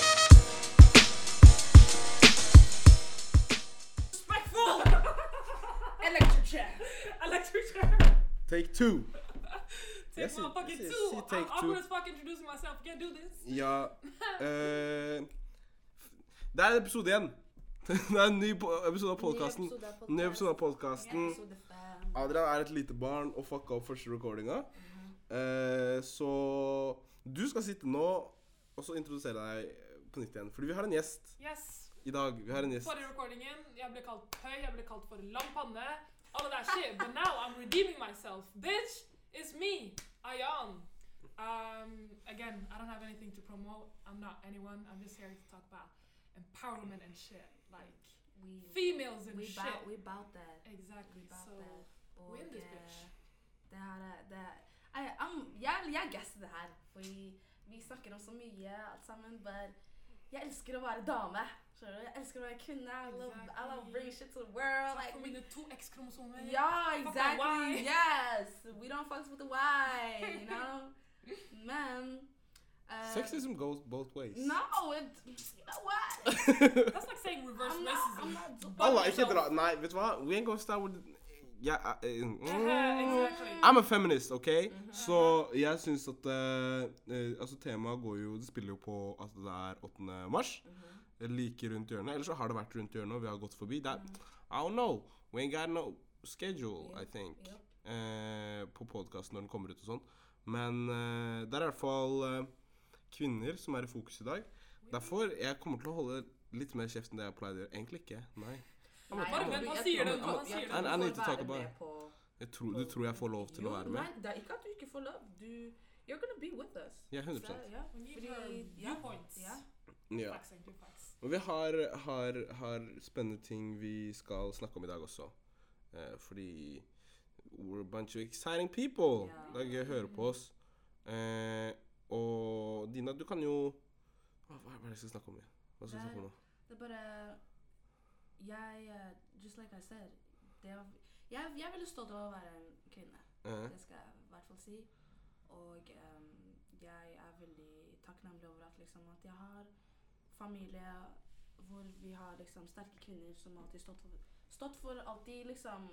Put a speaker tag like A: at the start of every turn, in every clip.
A: chair. Electric chair.
B: Take two.
A: Take
B: Yes,
A: motherfucking
B: yes, yes,
A: two.
B: she
A: I'm
B: take two.
A: awkward as fuck introducing myself. Can't do this.
B: Ja eh, Det er episode én. Det er en ny po episode av podkasten. Ny episode av podkasten. Adrian er et lite barn og fucka opp første recordinga.
A: Mhm.
B: Eh, så du skal sitte nå og så introdusere deg på nytt igjen. Fordi vi har en gjest
A: Yes.
B: i dag. Vi har en gjest.
A: Forrige recordingen, jeg ble kalt høy, jeg ble kalt for lang panne. All of that shit. But now I'm redeeming myself. Bitch, it's me, Ayan. Um, again, I don't have anything to promote. I'm not anyone. I'm just here to talk about empowerment and shit. Like,
C: We,
A: females and
C: we,
A: shit.
C: bout, we bout that.
A: Exactly.
C: We bout
A: So,
C: that. Og
A: we're in this
C: eh,
A: bitch.
C: det her er det, jeg, I'm, jeg, jeg gasser det her, fordi vi snakker om så mye alt sammen, but jeg elsker å være dame. Skjønner du? Jeg elsker å være kvinne. I love, I love bringing shit to the world.
A: Takk
C: Like,
A: for
C: we,
A: mine to X-kromosomer.
C: ja,
A: Fuck that
C: exactly.
A: Y.
C: Yes. We don't fuck with the Y, you know? Men eh,
B: Sexism goes both ways.
C: No, it, you know what?
A: That's like saying reverse
C: I'm not,
A: racism.
C: I'm not doing
B: Alla,
A: Fuck
B: ikke dra
A: yourself.
B: Nei, vet du hva? We ain't gonna start with Ja, eh, mm.
A: exactly.
B: I'm a feminist, OK? Så jeg syns at eh, eh, Altså, temaet går jo Det spiller jo på at det er 8. mars. Like rundt hjørnet. Eller så har det vært rundt hjørnet, og vi har gått forbi. Det er I don't know. We ain't got no schedule, I think.
C: Yep.
B: Eh, på podkasten når den kommer ut og sånn. Men eh, det er i hvert fall eh, kvinner som er i fokus i dag. Derfor jeg kommer til å holde litt mer kjeft enn det jeg pleide å gjøre. Egentlig ikke. Nei.
C: Nei,
A: Bare vent, han sier det nå, han sier det.
B: I- I need to talk
C: Får være
B: about
C: med
B: it.
C: på-
B: Jeg tror, du tror jeg får lov til
C: Jo,
B: å være med?
C: Nei, det er ikke at du ikke får lov. Du You're gonna be with us.
B: Ja, 100
C: Så, ja.
A: We need
C: Fordi-
A: her
C: ja.
A: viewpoints.
C: Ja.
B: Ja.
A: Facts and two facts.
B: Og vi har, har, har spennende ting vi skal snakke om i dag også. Eh, fordi we're a bunch of exciting people.
C: Ja.
B: Det er gøy å høre på oss. Eh, og Dina, du kan jo Hva hva er det jeg skal snakke om igjen? Hva skal jeg snakke om nå?
C: Det er bare Jeg eh, Just like I said det er, jeg, jeg er veldig stolt av å være en kvinne.
B: Eh,
C: Det skal jeg i hvert fall si. Og em, jeg er veldig takknemlig over at, liksom, at jeg har familie hvor vi har liksom, sterke kvinner som alltid stått for, stått for alltid liksom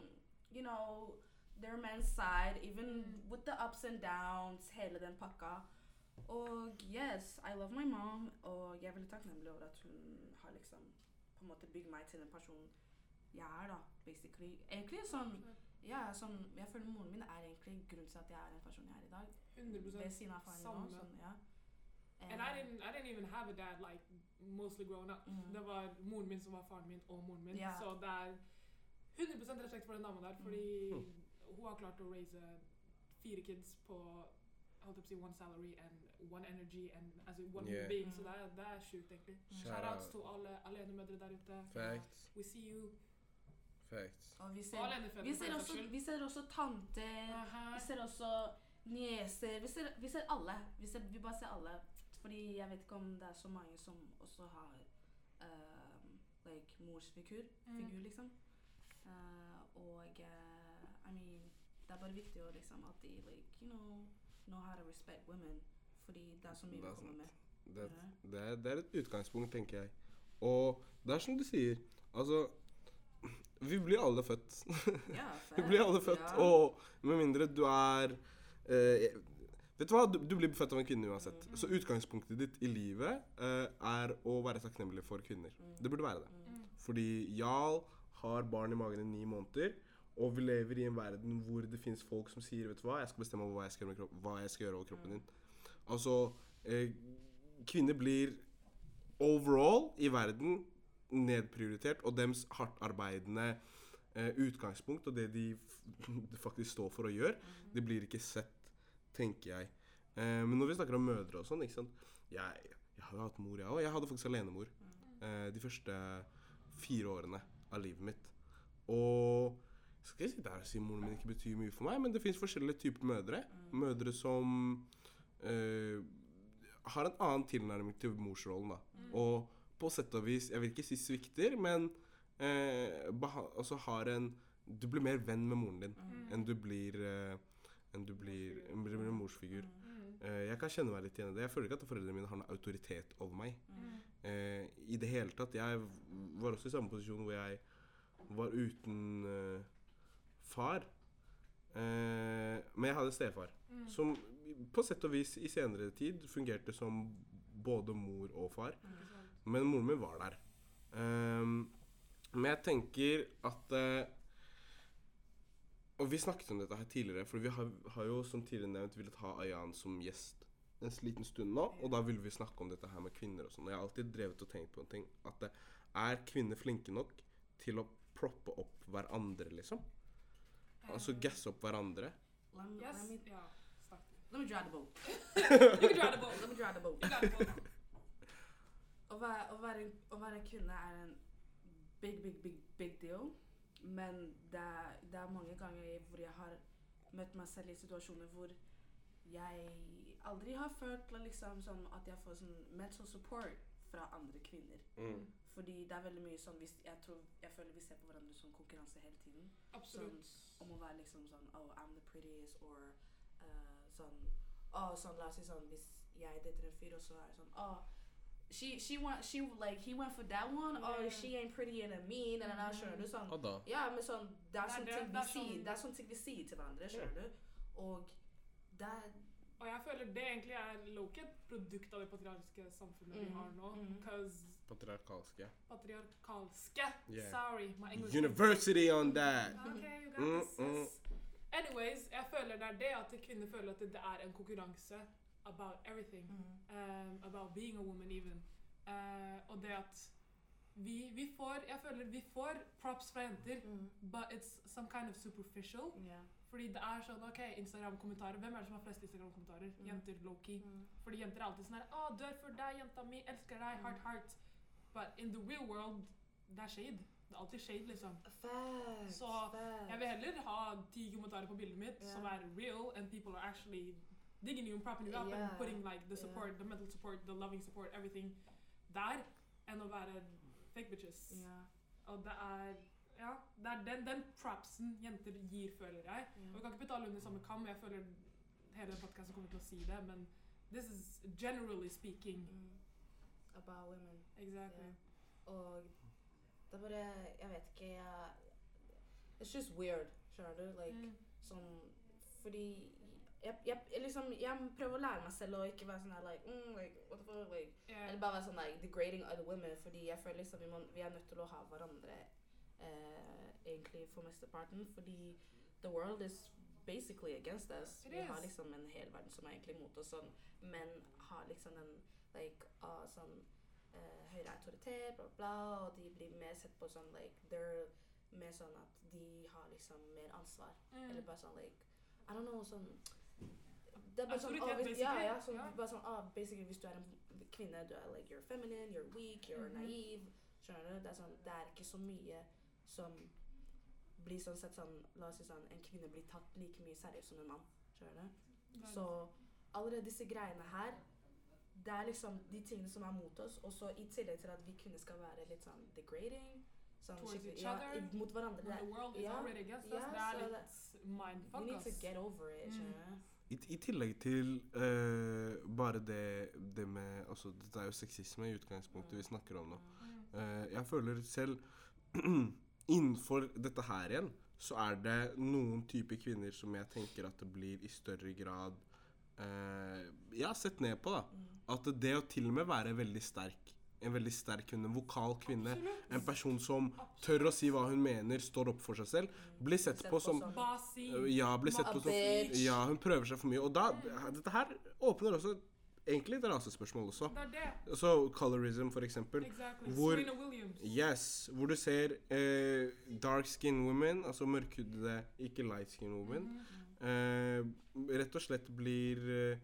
C: You know, their man's side, even with the ups and downs, hele den pakka. Og yes, I love my mom, og jeg er veldig takknemlig over at hun har liksom på en måte bygd meg til den personen jeg er, da, basically. Egentlig sånn ja, som jeg føler moren min er egentlig grunnen til at jeg er den personen jeg er i dag.
A: 100%.
C: Ved siden av faren min
A: Samme.
C: også, sånn, ja.
A: And I didn't, I didn't even have a dad like mostly growing up.
C: Mhm.
A: Det var moren min som var faren min og moren min.
C: Ja.
A: Så det er 100 respekt for den dama der,
B: Mm.
A: fordi
C: Hmm.
A: hun har klart å raise fire kids på holdt jeg på å si, one salary and one energy and altså, one
B: Yeah.
A: being. Så
C: Mhm.
A: det er, det er sjukt, egentlig.
B: Shout
A: Shoutouts
B: out.
A: to uh, alle alenemødre der ute.
B: Facts.
A: We see you.
B: Facts.
C: Eh, Og vi
A: Og
C: ser, vi
A: alenefødre, for
C: ser,
A: den saks
C: også,
A: skyld.
C: vi ser også tanter,
A: Aha.
C: vi ser også nieser, vi ser, vi ser alle. Vi, ser, vi bare ser alle. Fordi jeg vet ikke om det er så mange som også har eh, like, morsfigur,
A: Mm.
C: figur, liksom. Eh, og eh, I mean, det er bare viktig å liksom alltid like, you know, know how to respect women. Fordi det er så mye
B: Det er
C: vi kommer
B: sant.
C: med.
B: Det, det, er- det er et utgangspunkt, tenker jeg. Og det er som du sier, altså Vi blir alle født.
C: Ja,
B: Vi blir alle født,
C: Ja.
B: og med mindre du er eh, Vet du hva, du, du blir født av en kvinne uansett. Så utgangspunktet ditt i livet eh, er å være takknemlig for kvinner. Det burde være det.
A: Mm.
B: Fordi Jarl har barn i magen i ni måneder, og vi lever i en verden hvor det fins folk som sier Vet du hva, jeg skal bestemme over hva jeg skal gjøre, med kropp, hva jeg skal gjøre over kroppen din.
A: Mm.
B: Altså, eh, kvinner blir overall i verden nedprioritert, og dems hardtarbeidende eh, utgangspunkt og det de f- faktisk står for og gjør, det blir ikke sett, tenker jeg. Eh, men når vi snakker om mødre og sånn, ikke sant Jeg, jeg har jo hatt mor, jeg òg. Jeg hadde faktisk alenemor eh, de første fire årene av livet mitt. Og jeg skal ikke sitte her og si moren min ikke betyr mye for meg, men det fins forskjellige typer mødre. Mødre som eh, har en annen tilnærming til morsrollen, da. Og på sett og vis, jeg vil ikke si svikter, men eh, beha altså har en Du blir mer venn med moren din
C: Mm.
B: enn du blir eh, enn du blir, enn du blir en morsfigur. Eh, jeg kan kjenne meg litt igjen i det. Jeg føler ikke at foreldrene mine har noen autoritet over meg.
C: Mm.
B: Eh, I det hele tatt. Jeg var også i samme posisjon hvor jeg var uten eh, far. Eh, men jeg hadde stefar,
A: Mm.
B: som på sett og vis i senere tid fungerte som både mor og far.
C: Mm.
A: Ikke sant?
B: Men moren min var der. Ehm, men jeg tenker at eh, Og vi snakket om dette her tidligere, for vi har, har jo som tidligere nevnt villet ha Ayan som gjest en liten stund nå. Og da ville vi snakke om dette her med kvinner og sånn. Og jeg har alltid drevet og tenkt på en ting. At eh, er kvinner flinke nok til å proppe opp hverandre, liksom? Altså gasse opp hverandre?
C: Let me,
A: Yes.
C: let me,
A: Ja. Snakk.
C: let me dry the boat.
A: You can try the ball.
C: Let me dry the boat.
A: You got the ball.
C: Å være, å, være, å være kvinne er en big, big, big, big deal. Men det er, det er mange ganger hvor jeg har møtt meg selv i situasjoner hvor jeg aldri har følt liksom, sånn at jeg får sånn mental support fra andre kvinner. Fordi det er veldig mye sånn hvis, jeg, tror, jeg føler vi ser på hverandre som konkurranse hele tiden.
A: Absolutt.
C: Om å være liksom sånn Oh, I'm the prettiest, or eh, sånn Å, sånn, la oss si sånn Hvis jeg dater en fyr, og så er det sånn Å, she, she went, she, like, he went for that one, or
A: Yeah. Mm.
C: she ain't pretty and mean, and then skjønner du sånn
B: Og da?
C: Ja, men sånn Det er
A: Det er
C: sånne
A: det-
C: ting
A: det
C: vi
A: er
C: sier,
A: sånn-
C: det er sånne ting vi sier til hverandre, skjønner du? Og det er
A: Og jeg føler det egentlig er low-key et produkt av det patriarkiske samfunnet vi
C: Mhm.
A: har nå.
C: Mhm.
A: Cause
B: Patriarkalske.
A: patriarkalske
B: Yeah.
A: Sorry, my English.
B: University on that!
A: Ok, you got
B: Mm,
A: this,
B: mm.
A: sis. Anyways, jeg føler det er det at kvinner føler at det er en konkurranse about everything. um, about being a woman even. Eh, og det at vi, vi får Jeg føler vi får props fra jenter, but it's some kind of superficial.
C: Ja.
A: Fordi det er sånn OK, Instagram-kommentarer. Hvem er det som har flest Instagram-kommentarer?
C: Mm.
A: Jenter. Loki.
C: Mm.
A: Fordi jenter er alltid sånn her Å, dør for deg, jenta mi. Elsker deg. Heart, heart. But in the real world, det er shade. Det er alltid shade, liksom.
C: Facts.
A: Så,
C: facts.
A: Jeg vil heller ha ti kommentarer på bildet mitt
C: Ja.
A: som er real, and people are actually digging you and propping you up and
C: Yeah.
A: putting like the
C: Yeah.
A: support, the mental support, the loving support, everything der, enn å være fake bitches.
C: Ja,
A: Og det er ja, det er den, den propsen jenter gir, føler jeg. Og vi
C: ja.
A: kan ikke putte alle under samme kam, og jeg føler hele podkasten kommer til å si det, men this is generally speaking.
C: Mm. About women.
A: Exactly.
C: Og det er bare Jeg vet ikke jeg, It's just weird, skjønner du? Like,
A: Mm.
C: sånn, fordi jeg, jeg, jeg, liksom, jeg prøver å lære meg selv å ikke være sånn her like, mm, like, what the fuck, like,
A: Yeah.
C: Eller er bare være sånn like, degrading other women, fordi jeg føler liksom vi, må, vi er nødt til å ha hverandre eh, egentlig for mesteparten. Fordi the world is basically against us.
A: It
C: Vi har
A: is.
C: liksom en hel verden som er egentlig mot oss, sånn, men har liksom en like, ah, sånn eh, høyere autoritet, bla, bla, bla, og de blir mer sett på sånn like, they're mer sånn at de har liksom mer ansvar. Eller
A: Mm.
C: bare sånn like I don't know, sånn det er bare sånn,
A: Autoritet,
C: ah, hvis, ja,
A: basically.
C: ja, sånn,
A: Ja.
C: bare sånn ah, basically, Hvis du er en kvinne, du er like, you're feminine, you're weak, you're
A: Mhm.
C: naiv Skjønner du? Det er, sånn, det er ikke så mye som blir sånn sett sånn La oss si sånn En kvinne blir tatt like mye seriøst som en mann. Skjønner du? Så allerede disse greiene her Det er liksom de tingene som er mot oss. Og så i tillegg til at vi kvinner skal være litt sånn degrading sånn,
A: Towards
C: skikkelig-
A: each
C: ja,
A: other.
C: i- mot hverandre. Det
A: When
C: er
A: the world is
C: ja,
A: already against us,
C: ja,
A: det er
C: så
A: litt
C: We
A: mindfuck,
C: need to
A: ass.
C: get over it,
A: Mm.
C: skjønner
B: I,
C: du?
B: I tillegg til eh, bare det, det med altså, Dette er jo sexisme i utgangspunktet vi snakker om nå.
A: Mm.
B: Eh, jeg føler selv Innenfor dette her igjen så er det noen typer kvinner som jeg tenker at det blir i større grad eh, Jeg har sett ned på, da. At det å til og med være veldig sterk, en veldig sterk kvinne, en vokal kvinne,
A: Absolutt.
B: en person som tør å si hva hun mener, står opp for seg selv, blir sett på som
A: Basi.
B: Ja, blir sett
A: Ma-
B: på som
C: bitch.
B: Ja, hun prøver seg for mye. Og da Dette her åpner også egentlig et rasespørsmål også.
A: Det er det.
B: Så colorism, for eksempel.
A: Exactly.
B: Hvor-
A: Serena Williams.
B: Yes, hvor du ser eh, dark skin women, altså mørkhudede, ikke light skin women,
A: Mm-hmm.
B: eh, rett og slett blir eh,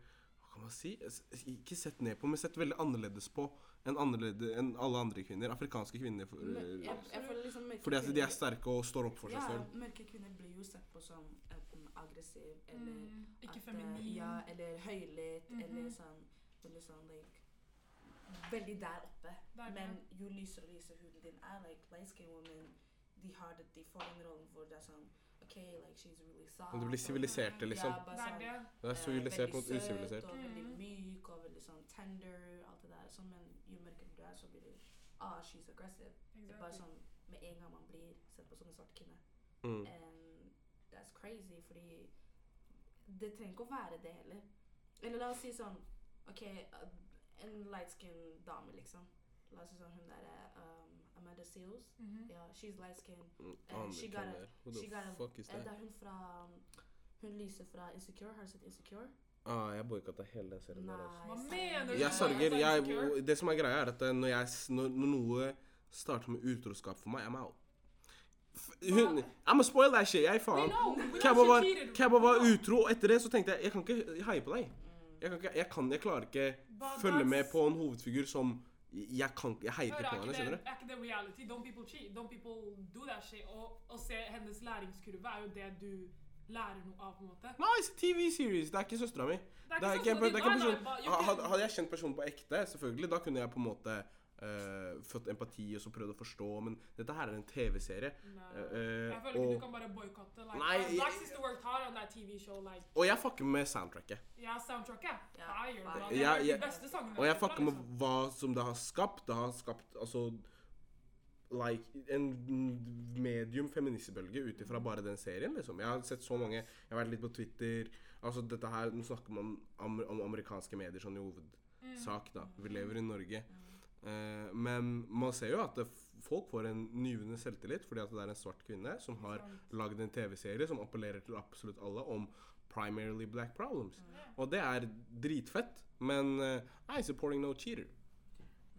B: Hva kan man si? S- Ikke sett ned på, men sett veldig annerledes på enn annerlede- enn alle andre kvinner. Afrikanske kvinner. For,
C: Men
B: eh,
C: jeg, jeg føler liksom mørke
B: fordi at de er
C: kvinner-
B: sterke og står opp for seg selv.
C: Ja, mørke kvinner blir jo sett på som enten aggressiv eller
A: Mm. Ikke
C: at, eh,
A: feminin.
C: Ja, eller høylytt
A: Mhm.
C: eller sånn Veldig sånn like Veldig der oppe.
A: Det er
C: Men jo lysere og lysere huden din er, like light skin women de, har det, de får den rollen hvor det er sånn OK, like she's really soft.
B: Men du blir siviliserte, liksom.
C: Ja, bare
A: det er
C: sånn,
A: det.
B: Det er
C: eh,
B: sivilisert mot
C: veldig søt
B: usivilisert.
C: Og veldig
A: Mhm.
C: myk og veldig sånn tender, alt det der. Sånn, men jo mørkere du er, så blir du Ah, she's aggressive. Det er bare
A: Exactly.
C: sånn med en gang man blir sett på som en svart kvinne.
B: Mm.
C: And crazy, fordi det trenger ikke å være det heller. Eller la oss si sånn OK, uh, en light skin dame, liksom. La oss si sånn hun derre um, Amanda Seals.
A: Mhm.
C: Ja, she's light skin.
B: Mm,
C: Eh,
B: aner
C: she
B: ikke
C: got
B: hvem
C: a-
B: det er. What
C: she
B: the
C: got a-
B: fuck is
C: Eh,
B: that?
C: det er hun fra um, Hun lyser fra Insecure. Har du sett Insecure?
B: Ah, jeg boikotta hele den serien. der, altså.
A: Hva
C: Nei,
A: mener du?
B: Jeg
A: Altså,
B: sørger.
A: insecure.
B: Jeg, det som er greia, er at eh, når, jeg, s- når, når noe starter med utroskap for meg, I'm out. F- Hun, I'm a spoil that shit. Jeg,
A: We
B: faen.
A: know, we
B: Cabba
A: know
B: var,
A: she cheated.
B: Cabba var
A: No.
B: utro, og etter det så tenkte jeg jeg kan ikke heie på deg.
C: Mm.
B: Jeg, kan ikke, jeg, kan, jeg klarer ikke
A: But
B: følge med
A: that's-
B: på en hovedfigur som Jeg, kan, ikke- jeg heier
A: Hør,
B: ikke på
A: er
B: henne.
A: ikke
B: skjønner
A: det,
B: du?
A: er ikke det reality? Don't people cheat? Don't people do that shit? Og, og se hennes læringskurve er jo det du lærer noe av, på en måte.
B: Nei, se TV series. Det er ikke søstera mi.
A: Det
B: Det er ikke,
A: sånn
B: en-
A: at
B: det er
A: de-
B: ikke
A: nei,
B: en
A: nei,
B: person,
A: but you
B: Ha-
A: can-
B: hadde, hadde jeg kjent personen på ekte, selvfølgelig, da kunne jeg på en måte eh, fått empati og så prøvd å forstå, men dette her er en TV-serie.
A: Nei.
B: eh,
A: Jeg føler ikke du
B: og,
A: kan bare boykotte. Like,
B: Nei,
A: uh, Black
B: jeg-
A: Sister worked hard on that TV show. Like,
B: og jeg fucker med soundtracket.
A: ja, soundtracket.
C: Ja,
A: Fire.
C: fire.
A: bro.
B: Jeg-
A: Det er de
B: jeg-
A: beste sangene.
B: Og jeg
A: derfra,
B: fucker med
A: liksom.
B: hva som det har skapt. Det har skapt altså Like en medium feministbølge ut ifra bare den serien, liksom. Jeg har sett så mange Jeg har vært litt på Twitter Altså, dette her Nå snakker man om, om amerikanske medier sånn i hovedsak, da. Vi lever i Norge. Eh, men man ser jo at det, f- folk får en nyvunnet selvtillit fordi at det er en svart kvinne som har lagd en TV-serie som appellerer til absolutt alle om primarily black problems. Og det er dritfett, men eh, I supporting no cheater.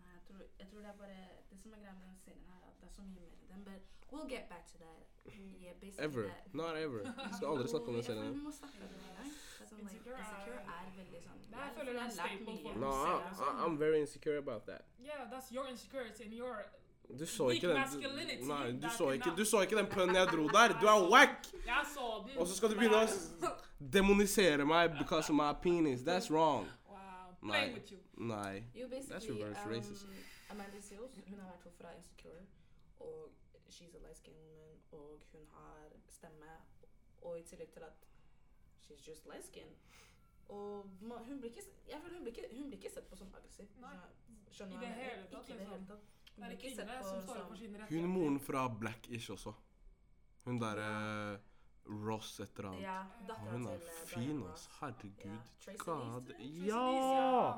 C: Nei, jeg tror, jeg tror det er bare Det som er greia med den serien her, er at det er så mye mer i den. But we'll get back to that. Yeah, basically
B: Ever.
C: that.
B: Not ever. Skal aldri snakke om den
C: Jeg føler
B: serien.
C: vi må snakke om det en gang. Det er sånn, like,
A: Insecure er-
C: Insecure er veldig sånn
A: Nei, jeg føler det er en
C: lært
A: staple
C: mye.
A: for-
B: No, I, I, I'm very insecure about that.
A: Yeah, that's your insecurity and your
B: Du så
A: Weak
B: ikke den
A: masculinity,
B: du, Nei, du
A: that
B: så
A: cannot-
B: ikke, du så ikke den pønnen jeg dro der. Du er wack!
A: Jeg så den.
B: Og så skal du
A: men
B: begynne å
A: jeg-
B: s- demonisere meg because of my penis. That's wrong.
A: Wow.
B: Nei.
A: Playing with you.
B: Nei.
C: Jo, basically
B: reverse
C: um,
B: racist.
C: Amanda Seals, hun har vært hun fra Insecure, og she's a light skinned woman, og hun har stemme, og i tillegg til at she's just light skinned. Og ma- hun blir ikke, s- jeg føler hun blir ikke, hun blir ikke sett på som aggressiv.
A: Nei.
C: Skjønner- Skjønner
A: I
C: du hva jeg
A: det
C: mener?
A: hele tatt,
C: Ikke i det hele
A: liksom.
C: tatt. Hun
A: Det er
C: blir
A: en
C: ikke sett
A: kvinne
C: på
A: som står opp
C: som-
A: for sine rettigheter.
B: Hun moren fra Blackish også. Hun derre Ross et eller annet.
C: Ja, datteren
B: Hun er
C: til, eh,
B: fin, altså.
C: Diana
B: ass.
C: Ja.
B: Herregud.
C: Tracy
B: God.
C: Easton.
B: Ja!
C: Ja.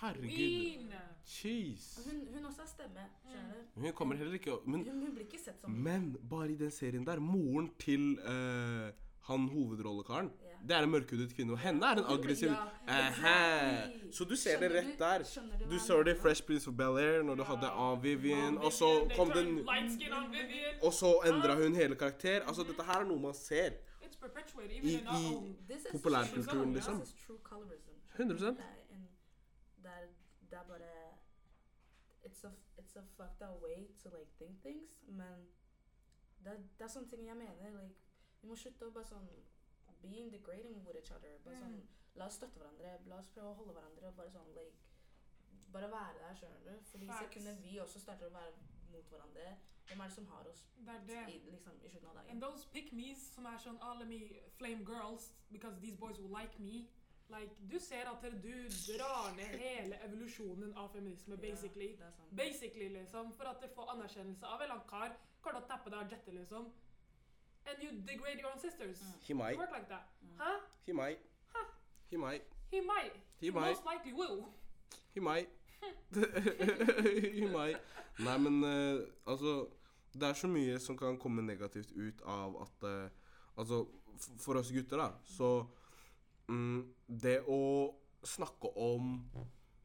B: Herregud.
A: Queen.
C: Og
B: Jeez.
C: Hun, hun også har stemme, skjønner du?
B: Hun kommer heller ikke å- Men,
C: Hun, hun blir ikke
A: sånn.
C: sett som
B: Mm. men bare i den serien der, moren til eh, han hovedrollekaren,
C: Ja.
B: det er en mørkhudet kvinne, og henne er en aggressiv
C: Ja,
B: Aha.
C: exactly.
B: Så du ser det
C: Skjønner
B: rett
C: du-
B: der.
C: skjønner du hva
B: Du
C: jeg
B: så det i
C: mener?
B: Fresh Prince of Bel-Air, når du hadde Ann Vivian,
A: Vivian,
B: og så
A: they
B: kom
A: turned Ah.
B: den
A: light skin on Vivian.
B: Og så endra hun hele karakter. Altså, dette her er noe man ser.
A: It's perpetuated even
B: I,
A: in our
B: i
A: own.
C: This is
B: populærkulturen,
C: true-
B: liksom.
C: This is true colorism.
B: 100%.
C: Det er en, det er, det er bare it's a, it's a fucked up way to like think things, men det, er- det er sånne ting jeg mener. Like, vi må slutte å bare sånn being degrading with each other. Bare sånn,
A: Mm.
C: la oss støtte hverandre, la oss prøve å holde hverandre og bare sånn like bare være der, skjønner du. Fordi så
A: Facts.
C: kunne vi også starte å være mot hverandre. Hvem er det som har oss
A: Det er det.
C: i, liksom, i slutten av
A: And
C: dagen?
A: those pick me's som er sånn ah, let me flame girls because these boys will like me. Like, du ser at du drar ned hele evolusjonen av feminisme, basically.
C: Ja, det er sånn. sant.
A: Basically, liksom. For at du får anerkjennelse av en eller annen kar. Kar til å tappe deg og jette, liksom. And you degrade your own sisters.
B: Himai.
A: You work like that. Hæ?
B: Himai. Himai.
A: He might.
B: He might.
A: Most likely will.
B: Himai. Himai. Nei, men eh, altså Det er så mye som kan komme negativt ut av at eh, Altså, f- for oss gutter, da, så mm, Det å snakke om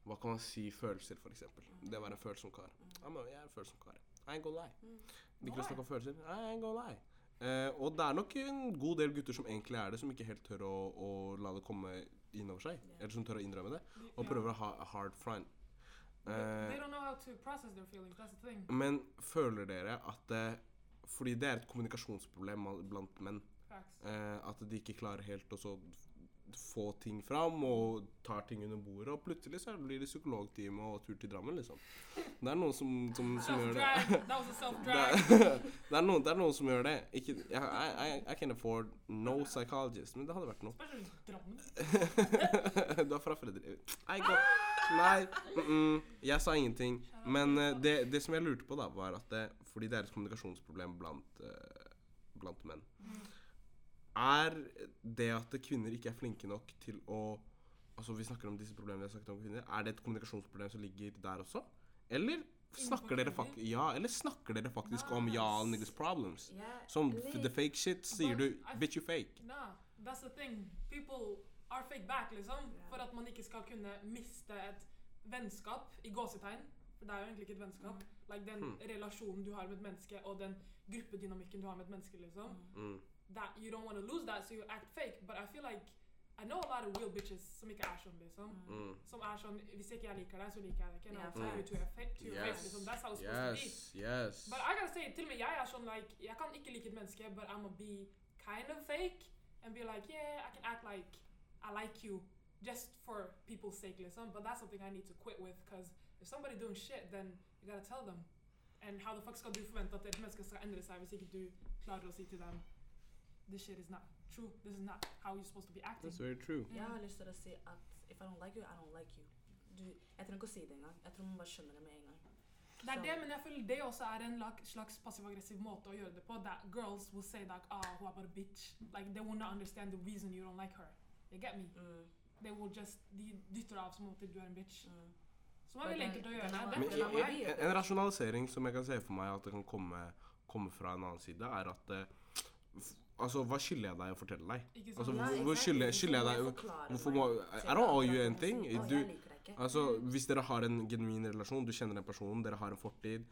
B: Hva kan man si? Følelser, for eksempel. Det å være en følsom kar. Ja, men jeg er en følsom kar. I ain't gonna lie. Liker å
A: Why?
B: snakke om følelser. I ain't gonna lie. Eh, og det er nok en god del gutter som egentlig er det, som ikke helt tør å, å la det komme innover seg. Eller som tør å innrømme det. Og prøver å ha a hard front. Eh,
A: They don't know how to process their feelings. That's the thing.
B: men føler dere at det Fordi det er et kommunikasjonsproblem mal- blant menn.
A: Facts.
B: Eh, at de ikke klarer helt å så f- få ting fram og tar ting under bordet, og plutselig så blir det psykologtime og tur til Drammen, liksom. Det er noen som, som, som gjør det.
A: Self-drag. That was a
B: Det
A: self-drag.
B: er, det, er noen, det er noen som gjør det. Ikke, jeg, I, I, I can afford no psychologist, men det hadde vært noe.
A: Spesielt Drammen.
B: du er fra Fredrik... Nei, gå. Nei, mm -mm, jeg sa ingenting. Men eh, det, det som jeg lurte på, da, var at det, fordi det er et kommunikasjonsproblem blant, eh, blant menn eh, er det at kvinner ikke er flinke nok til å Altså, vi snakker om disse problemene vi har snakket om kvinner. Er det et kommunikasjonsproblem som ligger der også? Eller snakker dere, fak ja, eller snakker dere faktisk om y'all niggas problems?
C: Yeah,
B: Som f
C: like-
B: the fake shit sier du
A: But I-
B: bitch you fake.
A: Nah, that's the thing. People are fake back, liksom.
C: Ja.
A: For at man ikke skal kunne miste et vennskap, i gåsetegn. For det er jo egentlig ikke et vennskap.
C: Mm.
A: Like den
B: Hmm.
A: relasjonen du har med et menneske, og den gruppedynamikken du har med et menneske, liksom.
C: Mm.
B: Mm.
A: That you don't want to lose that, so you act fake. But I feel like I know a lot of real bitches som ikke er sånn, liksom.
C: Mm.
B: Mm.
A: Som er sånn Hvis ikke jeg liker deg, så liker jeg deg ikke.
C: Ja,
A: No, yeah,
C: facts.
A: to your fa- to your face,
B: Yes.
A: liksom. That's how it's supposed to be.
B: Yes. Yes.
A: But I gotta say, til og med jeg er sånn like Jeg kan ikke like et menneske, but I'm gonna be kind of fake. And be like, yeah, I can act like I like you just for people's sake, liksom. But that's something I need to quit with, because if somebody doing shit, then you gotta tell them. And how the fuck skal du forvente at et menneske skal endre seg hvis ikke du klarer å si til dem This shit is not true. This is not how you're supposed to be acting.
B: That's very true.
C: Jeg har lyst til å si at if I don't like you, I don't like you. Du, jeg trenger ikke å si det engang. Jeg tror man bare skjønner det med en gang.
A: Det er det, men jeg føler det også er en lag- slags passiv-aggressiv måte å gjøre det på. That girls will say like, ah, hun er bare bitch. Like, they will not understand the reason you don't like her. You get me?
C: Mm,
A: They will just, de dytter deg av som om at du er en bitch.
C: mm.
A: Som er veldig enkelt å gjøre.
C: Den er-
A: Det er
B: Men
A: derfor
C: den er
A: jeg-
B: en, en- en rasjonalisering som jeg kan se for meg at det kan komme, komme fra en annen side, er at eh, f- Altså, hva skylder jeg deg å fortelle deg?
A: Ikke sant?
B: Altså,
C: Ja,
B: hvor- hvor
C: exactly.
B: skylder jeg-
C: Hvorfor
B: skylder jeg
C: må
B: deg
C: forklare
B: Hvorfor
C: meg?
B: må
C: Så
B: I don't owe you
C: akkurat
B: anything.
C: må si, «Å,
B: Du,
C: jeg liker deg ikke.
B: altså, hvis dere har en genuin relasjon, du kjenner den personen, dere har en fortid,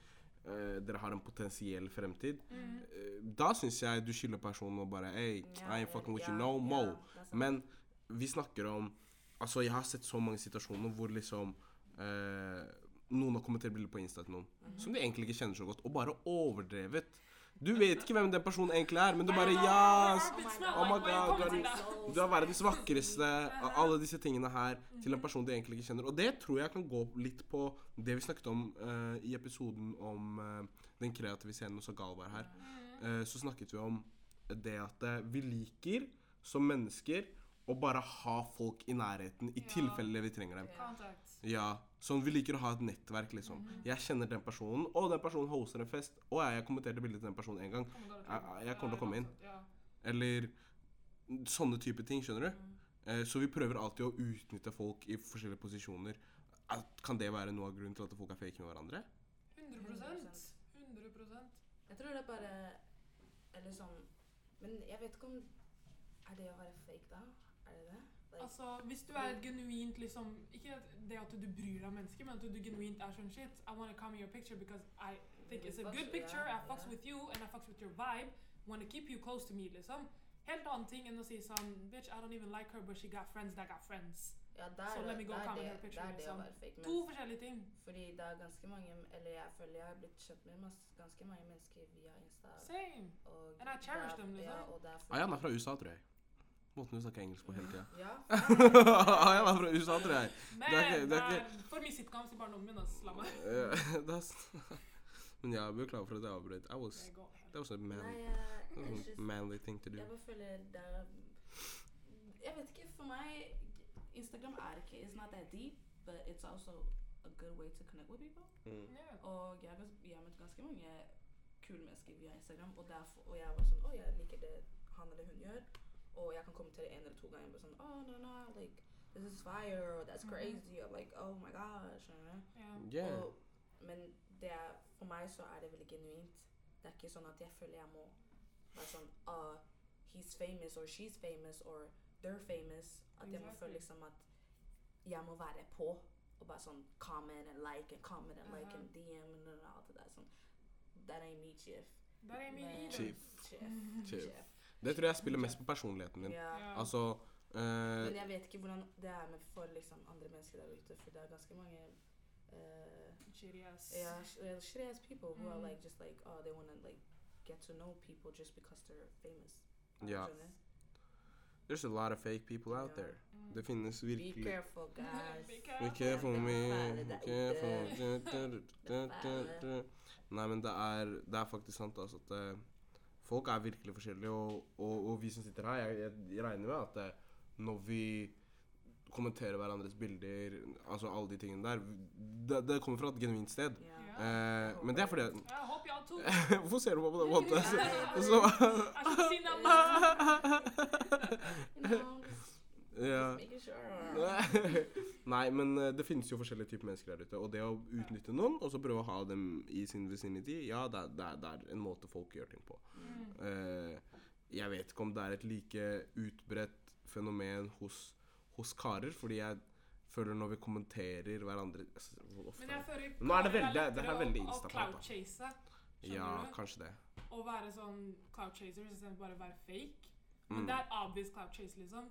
B: eh, dere har en potensiell fremtid,
A: Mhm.
B: eh, da syns jeg du skylder personen å bare Hey,
C: Ja,
B: I ain't fucking with
C: ja,
B: you no more.
C: ja, det er sant.
B: Men vi snakker om Altså, jeg har sett så mange situasjoner hvor liksom eh, Noen har kommentert bilder på Insta til noen som de egentlig ikke kjenner så godt, og bare overdrevet. Du vet ikke hvem den personen egentlig er, men du bare Ja!
A: Yes!
B: ass,
C: my
B: Oh my god,
A: Velkommen til
B: du
A: deg.
B: Du er verdens vakreste av alle disse tingene her til en person de egentlig ikke kjenner. Og det tror jeg kan gå litt på det vi snakket om eh, i episoden om eh, den kreative scenen hos Agal var her.
C: Mm.
A: mm,
B: Eh, så snakket vi om det at eh, vi liker som mennesker å bare ha folk i nærheten i
A: Ja.
B: tilfelle vi trenger dem.
A: mm. Contact.
B: Ja, sånn Vi liker å ha et nettverk, liksom. Jeg kjenner den personen, og den personen hoster en fest. Og jeg kommenterte bildet til den personen en gang.
A: Kommer dere til?
B: Jeg, jeg kommer til å komme inn.
A: Ja.
B: Eller sånne type ting, skjønner du? Eh, så vi prøver alltid å utnytte folk i forskjellige posisjoner. At, kan det være noe av grunnen til at folk er fake med hverandre?
A: 100 100
C: Jeg tror det er bare Eller sånn Men jeg vet ikke om Er det å være fake, da? Er det det? Like,
A: Altså, hvis du er et genuint liksom Ikke det at du bryr deg om mennesker, men at du genuint er sånn shit I wanna come in your picture because I think it's a
C: Fucks-
A: good picture.
C: ja,
A: I fucks
C: ja.
A: with you and I fucks with your vibe. Wanna keep you close to me, liksom. Helt annen ting enn å si sånn Bitch, I don't even like her, but she got friends that got friends.
C: ja, det er
A: so let me
C: det,
A: go
C: det, er
A: comment
C: det,
A: her
C: det,
A: picture,
C: er det å
A: liksom.
C: være fake.
A: To
C: Men,
A: forskjellige ting.
C: fordi det er ganske mange Eller jeg føler jeg har blitt kjent med masse, ganske mange mennesker via Insta.
A: Same.
C: Og
A: And I cherish
C: det er-
A: them,
C: Ja,
A: liksom.
C: og det er
B: Ayan Ah, er fra USA, tror jeg. Måten hun snakker engelsk på hele tida.
C: Ja.
B: Ayan er fra USA, tror jeg.
A: Men
B: Det er ikke- det er ikke-
A: man, for mye sitcoms i barndommen min, ass. La meg
B: Eh, that's- Men jeg beklager for at jeg avbrøt. I was,
A: Jeg går helt-
B: that was a
C: Nei,
B: man,
C: jeg,
B: that was
C: it's
B: a
C: just-
B: manly thing to do.
C: Jeg bare føler det er Jeg vet ikke, for meg Instagram er ikke It's not that deep, but it's also a good way to connect with people.
B: Mm.
A: Ja.
C: Og jeg, har gans- jeg har møtt ganske mange kule mennesker via Instagram, og, derfor, og jeg var sånn Å, jeg liker det han eller hun gjør. Og jeg kan kommentere en eller to ganger bare sånn Å, no, no, like This is fire, or that's
A: Mhm.
C: crazy, or like Oh my gosh. skjønner du?
A: Ja.
B: Yeah.
C: Og, men det er, for meg så er det veldig genuint. Det er ikke sånn at jeg føler jeg må være sånn ah, He's famous, or she's famous, or they're famous. At jeg må
A: Exactly.
C: føle liksom at jeg må være på. Og bare sånn comment and like and comment and like
A: Aha.
C: and DM and alt det der. sånn. That ain't me, chief.
A: Der er min
C: Men-
A: ide.
B: Chief.
C: Chief.
B: Chief.
C: Chief.
B: Det tror jeg spiller mest på personligheten din.
C: Ja.
A: Ja.
B: Altså eh,
C: Men jeg vet ikke hvordan det er med for liksom andre mennesker der ute, for det er ganske mange eh,
A: Shitty ass.
C: Yeah, sh- uh, shitty ass people who are
A: Mhm.
C: like just like oh they want to like get to know people just because they're famous.
B: Yeah.
C: Skjønner?
B: There's a lot of fake people out
C: Ja.
B: there.
A: Mm.
B: Det finnes
C: Be
B: virkelig
C: careful, guys.
A: Be
B: Be
A: careful.
B: careful me,
C: Det er
B: be
C: fæle der
B: careful
C: ute.
B: du, du, du,
C: er
B: du,
C: fæle.
B: du. Nei, men det er, det er faktisk sant altså, at eh, folk er virkelig forskjellige. Og, og, og vi som sitter her, jeg, jeg, jeg regner med at eh, når vi kommenterer hverandres bilder, altså alle de tingene der Det, det kommer fra et genuint sted.
C: Ja.
A: Ja.
B: Eh, men det er fordi
A: I hope y'all too.
B: Hvorfor ser du på meg på den måten?
A: I
B: Så,
A: should see that much.
C: You know,
B: ja.
C: just making sure.
B: Nei, men eh, det finnes jo forskjellige typer mennesker der ute. Og det å utnytte noen, og så prøve å ha dem i sin vicinity, ja, det er, det er, det er en måte folk gjør ting på.
A: Mm.
B: Eh, jeg vet ikke om det er et like utbredt fenomen hos, hos karer, fordi jeg føler når vi kommenterer hverandre altså, hvor ofte
A: Men jeg
B: er det?
A: føler
B: Nå er det
A: karer
B: veldig- det
A: lettere
B: her er veldig
A: å- å
B: Insta-prat, da.
A: clout-chase. Skjønner
B: Ja,
A: du?
B: kanskje det.
A: Å være sånn clout-chaser istedenfor bare å være fake. Men
B: Mm.
A: det er obvious clout-chase, liksom.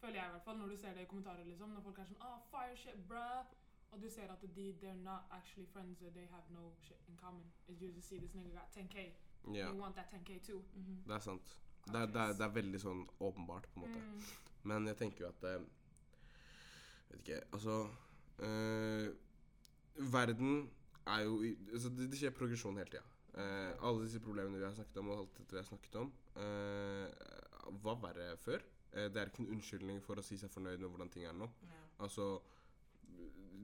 A: Føler jeg i hvert fall, når du ser det i kommentarer, liksom. Når folk er sånn ah, fire shit, bruh. Og du ser at de they're not actually friends, they have no shit in common. It's you just see this nigga got 10K.
B: Ja,
A: You want that 10K too.
C: Mhm.
B: det er sant. Det er, det, er, det er veldig sånn åpenbart, på en måte.
A: Mm.
B: Men jeg tenker jo at eh, Vet ikke, altså eh, Verden er jo i, altså det, det skjer progresjon hele tida. Eh, alle disse problemene vi har snakket om, og alt dette vi har snakket om, eh, var verre før. Eh, det er ikke en unnskyldning for å si seg fornøyd med hvordan ting er nå.
C: Ja.
B: Altså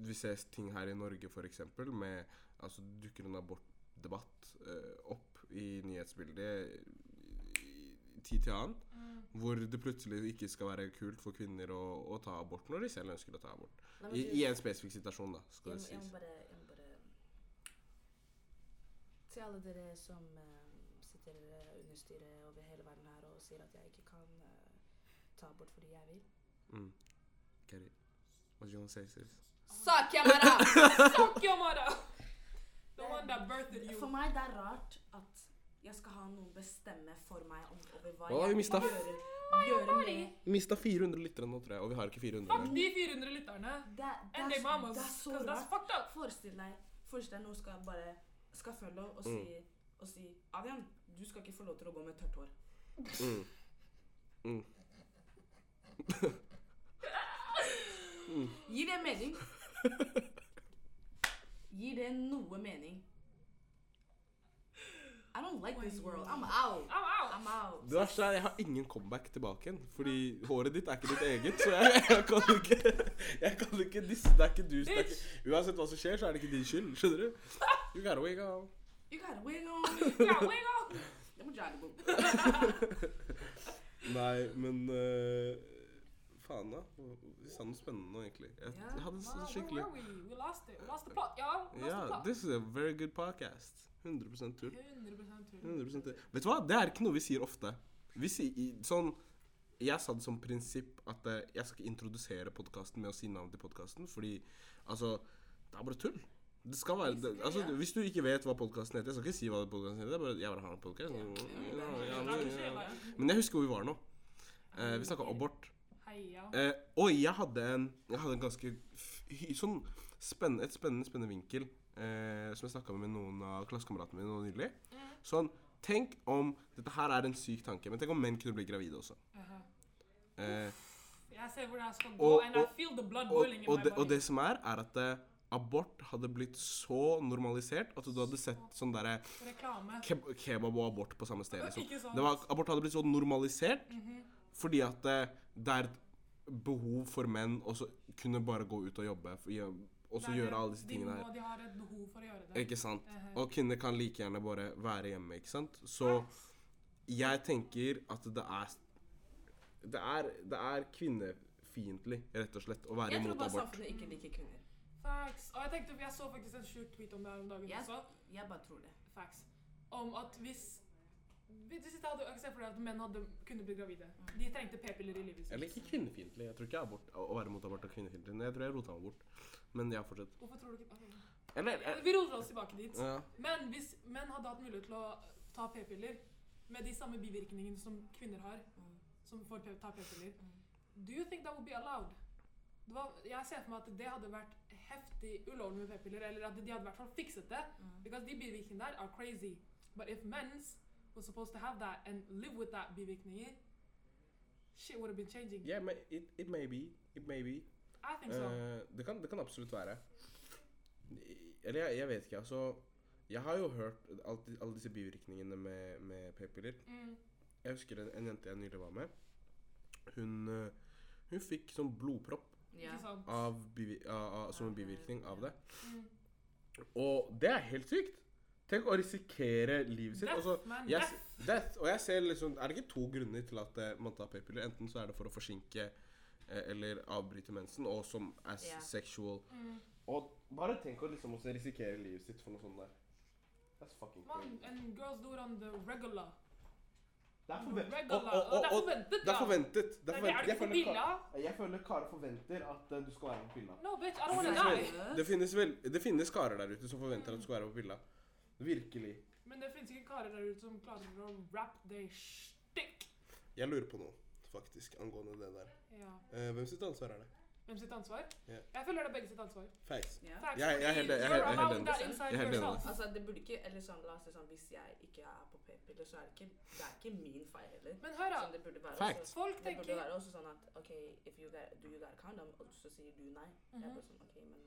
B: Vi ser ting her i Norge, f.eks., med Altså dukker en abortdebatt eh, opp i nyhetsbildet i, i tid til annen.
A: Mm.
B: Hvor det plutselig ikke skal være kult for kvinner å, å ta abort når de selv ønsker å ta abort.
C: Nei, men
B: I,
C: du-
B: i en spesifikk situasjon, da. skal
C: Jeg,
B: det
C: må- jeg må
B: sies.
C: bare, jeg må bare Til alle dere som eh, sitter eh, under styret over hele verden her og sier at jeg ikke kan eh, ta abort fordi jeg vil.
B: Mm. Keri, what you gonna say, sis?
C: Suck your mother!
A: mm. Fuck your mother! The one that birthed you.
C: For meg det er rart at jeg skal ha noen bestemme for meg om, over hva
B: Å, vi
C: jeg
B: mistet-
C: vil gjøre, gjøre med
B: Mista 400 lyttere nå, tror jeg, og vi har ikke 400
A: Fuck
B: engang.
A: de 400 lytterne.
C: det, er- det,
A: And their
C: er,
A: mamas.
C: det er så
A: 'cause that's
C: rart.
A: fucked up.
C: Forestill deg Forestill deg noen skal bare Skal følge og
B: Mm.
C: si, og si Adrian, du skal ikke få lov til å gå med tørt hår.
B: Mm. Mm.
C: Gi det mening. Gi det noe mening. I don't like this world. I'm out.
A: I'm out.
C: I'm out.
B: Det verste er jeg har ingen comeback tilbake igjen. Fordi håret ditt er ikke ditt eget, så jeg, jeg kan jo ikke Jeg kan jo ikke disse. Det er ikke du. Det er ikke, uansett hva som skjer, så er det ikke din skyld. Skjønner du? You gotta wake up.
C: You got a wig on.
A: Yeah, we go.
C: Det må jeg bo.
B: Nei, men øh, Faen, da. Vi sa noe spennende nå, egentlig. Jeg,
C: Ja,
B: jeg hadde
A: Wow,
B: så
A: where
B: skikkelig
A: were we? We lost it. We lost the plot, y'all. We lost
B: Ja,
A: the plot.
B: this is a very good podcast. 100 tull.
A: 100% tull.
B: 100 tull. Vet du hva, det er ikke noe vi sier ofte. Vi sier i- sånn Jeg sa det som prinsipp at eh, jeg skal ikke introdusere podkasten med å si navnet til podkasten, fordi altså Det er bare tull. Det skal være det, altså, Hvis du ikke vet hva podkasten heter Jeg skal ikke si hva podkasten heter, det er bare, jeg bare har en podkast. Men jeg husker hvor vi var nå. Eh, vi snakka abort.
A: Heia.
B: Eh, og jeg hadde en, jeg hadde en ganske f- hy- sånn spennende, et spennende, spennende vinkel eh, som jeg snakka med noen av klassekameratene mine nå nylig. Sånn, tenk om Dette her er en syk tanke, men tenk om menn kunne bli gravide også.
A: Aha.
B: Eh,
A: Jeg ser hvor det her skal gå,
B: Og-
A: and I
B: og-
A: feel the blood
B: og,
A: boiling in
B: og,
A: my
B: det, og
A: body.
B: det som er, er at eh, abort hadde blitt så normalisert at du hadde sett sånn derre
A: Reklame.
B: keb kebab og abort på samme sted. Liksom.
A: Ikke sant?
B: Det var, abort hadde blitt så normalisert fordi at eh, det er et behov for menn å så kunne bare gå ut og jobbe for- gjø- og så
A: Det er det.
B: gjøre alle disse
A: De
B: tingene
A: må-
B: her.
A: De har et behov for å gjøre det.
B: Ikke sant?
A: Mhm.
C: Uh-huh.
B: Og kvinner kan like gjerne bare være hjemme, ikke sant? Så jeg tenker at det er Det er, det er kvinnefiendtlig, rett og slett, å være
C: Jeg tror
B: imot
C: bare
B: abort.
C: samfunnet ikke liker kvinner.
A: Facts. Og jeg tenkte, jeg så faktisk en sjuk tweet om det her om dagen
C: Jeg,
A: også.
C: jeg bare tror det.
A: Facts. Om at hvis hvis ikke hadde jeg sett for deg at menn hadde, kunne bli gravide. De trengte p-piller i livet
B: Eller ikke kvinnefiendtlig. Jeg tror ikke abort, å være imot abort er kvinnefiendtlig. men Jeg tror jeg rota meg bort. Men ja, fortsett.
A: Hvorfor tror du ikke Ok.
B: Eller eh,
A: Vi roller oss tilbake dit.
B: ja.
A: Men hvis menn hadde hatt mulighet til å ta p-piller med de samme bivirkningene som kvinner har,
C: Mm.
A: som får p- ta p-piller,
C: Mm.
A: do you think that would be allowed? Det var, jeg ser for meg at det hadde vært heftig ulovlig med p-piller, eller at de hadde i hvert fall fikset det.
C: Mm.
A: Because de bivirkningene der are crazy. But if men's were supposed to have that and live with that bivirkninger, shit would have been changing.
B: Yeah, ma- it, it may be. It may be.
A: I think so.
B: Eh, det, kan, det kan absolutt være. I- Eller jeg, jeg vet ikke, altså. Jeg har jo hørt alt, alle disse bivirkningene med, med p-piller.
A: Mm.
B: Jeg husker en, en jente jeg nylig var med. Hun, eh, hun fikk sånn blodpropp
C: Ja.
A: Ikke sant?
B: av bivi, av, av, som en
C: Av, eh,
B: bivirkning av det.
A: Mm.
B: Og det er helt sykt. Tenk å risikere livet sitt.
A: Death,
B: altså,
A: man,
B: jeg,
A: death.
B: se- death. Og jeg ser liksom Er det ikke to grunner til at eh, man tar p-piller? Enten så er det for å forsinke eh, eller avbryte mensen, og som er
C: Ja.
B: sexual
A: Mm.
B: Og bare tenk å liksom også risikere livet sitt for noe sånt der. That's fucking
A: Man,
B: crazy.
A: and girls do it on the regular.
B: Det er
A: Regular.
B: forventet.
A: Og,
B: Og, og, og, og,
A: det er forventet,
B: det er
A: ja.
B: forventet. Det
A: Nei,
B: er
A: det er det
B: forventet. Jeg
A: ikke på
B: føler Ka-
A: Billa.
B: Jeg føler Kare forventer at eh, du skal være på pilla.
A: No, bitch, I don't wanna die.
B: Seriøst? Det finnes, vel, det finnes karer der ute som forventer at du skal være på pilla. Virkelig.
A: Men det finnes ikke karer der ute som klarer å rap they stick.
B: Jeg lurer på noe, faktisk, angående det der.
A: Ja.
B: Eh, hvem sitt ansvar er det?
A: Hvem sitt ansvar?
B: Ja.
A: Jeg føler det er begge sitt ansvar.
B: Feis.
C: Ja.
A: Facts,
B: Jeg- jeg er helt- jeg er helt- jeg er helt enig. Jeg er helt enig med
C: Altså, det burde ikke Eller sånn, la oss si sånn Hvis jeg ikke er på p-piller, så er det ikke, det er ikke min feil heller.
A: Men hør,
C: Sånn,
A: da.
C: det burde være
B: Facts.
C: Også,
A: Folk
C: det burde
A: tenker
C: være også sånn at OK, if you got, do you got a condom, og så sier du nei.
A: Mhm.
C: Jeg er bare sånn, ok, men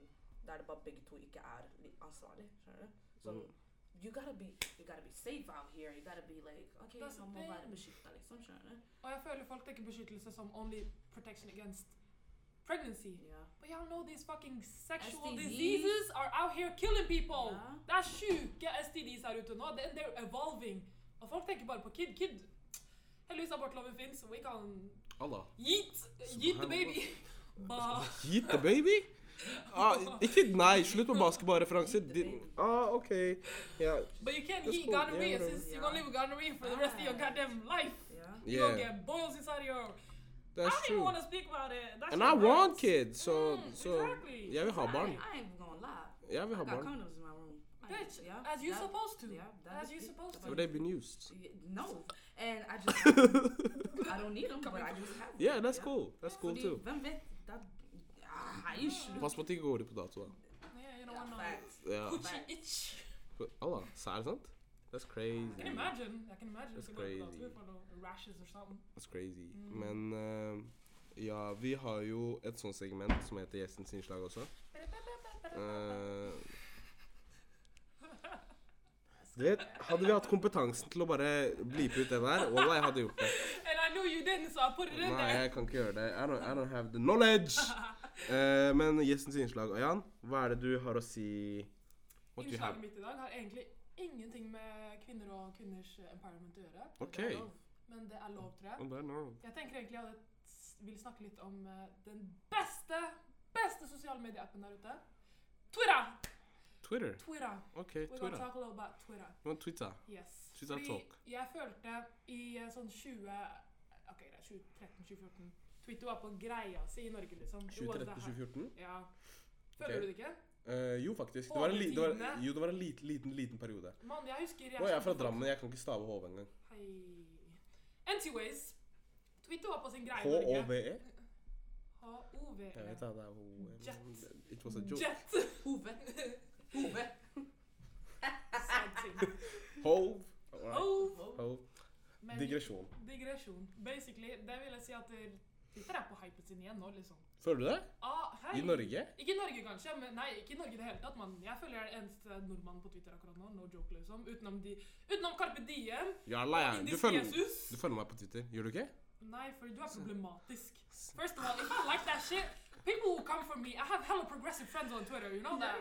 C: Da er det bare begge to ikke er li- ansvarlig. Skjønner du? Sånn,
B: Mm.
C: you gotta be you gotta be safe out here. You gotta be like OK,
A: That's the
C: man må
A: thing.
C: være beskytta, liksom. Skjønner du?
A: Og jeg føler folk tenker beskyttelse som only protection against pregnancy.
C: Ja.
A: But y'all know these fucking sexual
C: STDs.
A: diseases are out here killing people.
C: Ja.
A: Det er sjuke STDs her ute nå. They- They're evolving. Og folk tenker bare på kid. Kid Heldigvis abortloven fins, we can
B: Allah.
A: yeet, yeet the baby. Ba.
B: Heat the baby? Ah, ikke nei. Slutt med basketballreferanser.
C: Heat the baby.
B: Din- Ah, OK. Ja.
A: But you can't
B: That's
A: eat
B: cool.
A: gonorrhea
B: Yeah, whatever.
A: since you're gonna live with gonorrhea for the rest of your
C: Ah.
A: goddamn life.
C: Ja.
A: You're gonna
B: Yeah,
A: get boils inside of your I
B: that's
A: don't even
B: true.
A: wanna speak about it. That
B: And
A: shit
B: I want
A: hurts.
B: kids, så
A: Mm,
B: så
A: exactly.
B: Jeg vil ha barn.
C: I, I ain't gonna lie.
B: Jeg vil
C: I
B: ha
C: got
B: barn.
C: condoms in my room. I-
A: Bitch,
C: yeah,
A: as you
C: that-
A: supposed to.
C: Yeah, that
A: As
C: is
A: you
C: it.
A: supposed to.
C: That's
B: Have
C: what
B: they
C: it
B: been
C: is.
B: used?
C: Yeah, No. And I just have them. I don't need them, but I just have them.
B: Yeah, that's cool. That's cool
C: Fordi,
B: too.
C: Hvem vet? That, ah, er jo slutt.
B: Pass på at det ikke går ut på dato, da.
A: Yeah, you don't
C: Ja,
A: want no
C: facts.
B: Ja.
A: coochie itch.
B: Allah, så er det sant? That's
A: I can
B: crazy.
A: imagine. I can imagine.
B: That's
A: if they go to the
B: crazy.
A: doctor for the rashes or something.
B: That's crazy.
A: Mm.
B: Men eh, ja, vi har jo et sånt segment som heter Gjestens innslag også. Eh, du vet, hadde vi hatt kompetansen til å bare blipe ut det der, wallah, jeg hadde gjort det.
A: And I knew you didn't, so I put it in
B: Nei,
A: there.
B: jeg kan ikke gjøre det. I don't, I don't have the knowledge. Eh, men gjestens innslag, Ayan, hva er det du har å si? What do you have?
A: Innslaget mitt i dag har egentlig ingenting med kvinner og kvinners eh, empowerment å gjøre.
B: OK.
C: Det er lov.
A: Men det er lov, tror jeg.
B: Oh, det er noe.
A: Jeg tenker egentlig at jeg vil snakke litt om eh, den beste, beste sosiale medieappen der ute. Twitter!
B: Twitter.
A: Twitter.
B: OK,
A: We're gonna
B: Twitter.
A: talk a little about Twitter.
B: You want Twitter?
A: Yes.
B: Twitter talk.
A: jeg følte i eh, sånn 20... Ok, det er 2013-2014. Twitter var på greia si i Norge, liksom. Det var det her.
B: 2013-2014?
A: Ja. Føler
B: Ok.
A: du det ikke?
B: Eh, jo, faktisk. Det var en, li det var,
A: Overtidene.
B: jo, det var en liten, liten, liten periode.
A: Mann, jeg husker
B: Å, jeg er fra
A: kjente folk-
B: Drammen. Jeg kan ikke stave HV engang.
A: Hei. Anyways. Twitter var på sin greie i Norge.
B: H-O-V-E?
A: H-O-V-E.
B: E? Jeg vet da, det er HOVE.
A: Jet.
B: E, It was a joke.
A: Jet.
C: Hove. Hove.
A: Sad thing.
B: Hov.
A: Hov.
B: Hov.
A: Men-
B: Digresjon.
A: Digresjon. Basically, det vil jeg si at eh, Twitter er på hypen sin igjen nå, liksom.
B: Føler du det?
A: Ah, hei.
B: I Norge?
A: Ikke i Norge, kanskje, men nei, ikke i Norge i det hele tatt. Man. Jeg føler jeg er den eneste nordmannen på Twitter akkurat nå. No joke, liksom. Utenom, de, utenom Carpe Diem.
B: Jalla, jeg. Du
A: Indisk
B: følger,
A: Jesus.
B: du følger meg på Twitter, gjør du ikke?
A: Nei, for du er problematisk. First of all, if I like that shit, people will come for me. I have hella progressive friends on Twitter, you know that?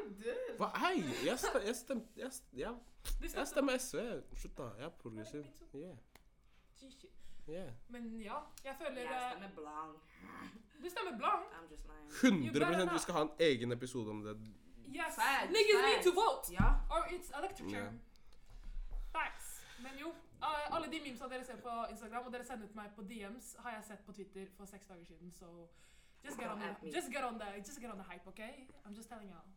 B: Hva? Hei! Jeg, st jeg, stem jeg, st ja,
A: De
B: jeg
A: støtter-
B: stemmer SV. Slutt, da. Jeg er progressiv. Yeah.
A: Gee, shit.
B: Yeah.
A: Men ja, jeg føler
C: Jeg
A: eh,
C: stemmer blank.
A: Du stemmer blank.
C: I'm just lying.
B: 100 Vi skal ha en egen episode om det.
A: Yes.
C: Facts,
A: Niggas need to
C: facts.
A: vote.
C: Ja.
A: Or it's electric chair.
B: Ja.
A: Facts. Men jo, eh, alle de memesa dere ser på Instagram, og dere sender til meg på DMs, har jeg sett på Twitter for seks dager siden, so just get on
C: At
A: the,
C: me.
A: just get on the, just get on the hype, OK? I'm just telling y'all.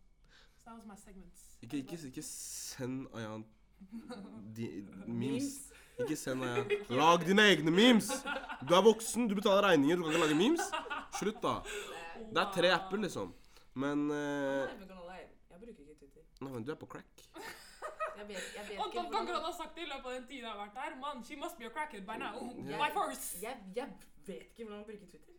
A: So that was my segments.
B: Ikke, ikke, ikke send Ayan de, memes. Ikke send Ayan Lag dine egne memes! Du er voksen, du betaler regninger, du kan ikke lage memes. Slutt, da. Det er tre apper, liksom. Men
C: I'm
B: eh,
C: not even gonna lie. Jeg bruker ikke Twitter.
B: Nei, men du er på crack.
C: Jeg vet, jeg vet ikke
A: Antall ganger han
C: hvordan
A: har sagt det i løpet av den tiden jeg har vært her. Man, she must be a crackhead by now.
B: Ja.
A: By force.
C: jeg, jeg vet ikke hvordan man bruker Twitter.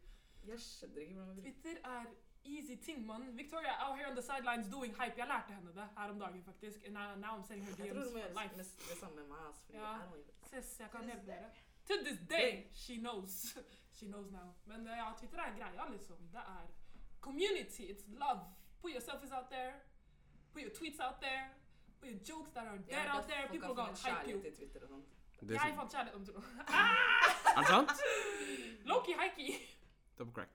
C: Jeg skjønner ikke hvordan man bruker
A: Twitter er easy ting, mann. Victoria out here on the sidelines doing hype. Jeg lærte henne det her om dagen, faktisk. And now, now I'm sending her
C: Jeg tror
A: DMs for
C: du må gjøre sånn. det
A: life.
C: med- det samme med meg. ass, fordi
A: Ja.
C: I don't even-
A: Sis, jeg kan
C: To this
A: hjelpe
C: day.
A: dere. To this day, she knows. She knows now. Men eh, ja, Twitter er greia, liksom. Det er community. It's love. Put yourself is out there. Put your tweets out there. Put your jokes that are
D: Jeg
A: dead
D: har
A: out there.
D: hørt at folk
A: People
D: har
A: are gonna
D: funnet
A: hype you.
D: kjærlighet i Twitter og sånt.
B: Det
A: Jeg
B: er,
A: fant kjærlighet om Tro.
B: er det sant?
A: Loki Heikki.
B: Det er på crack.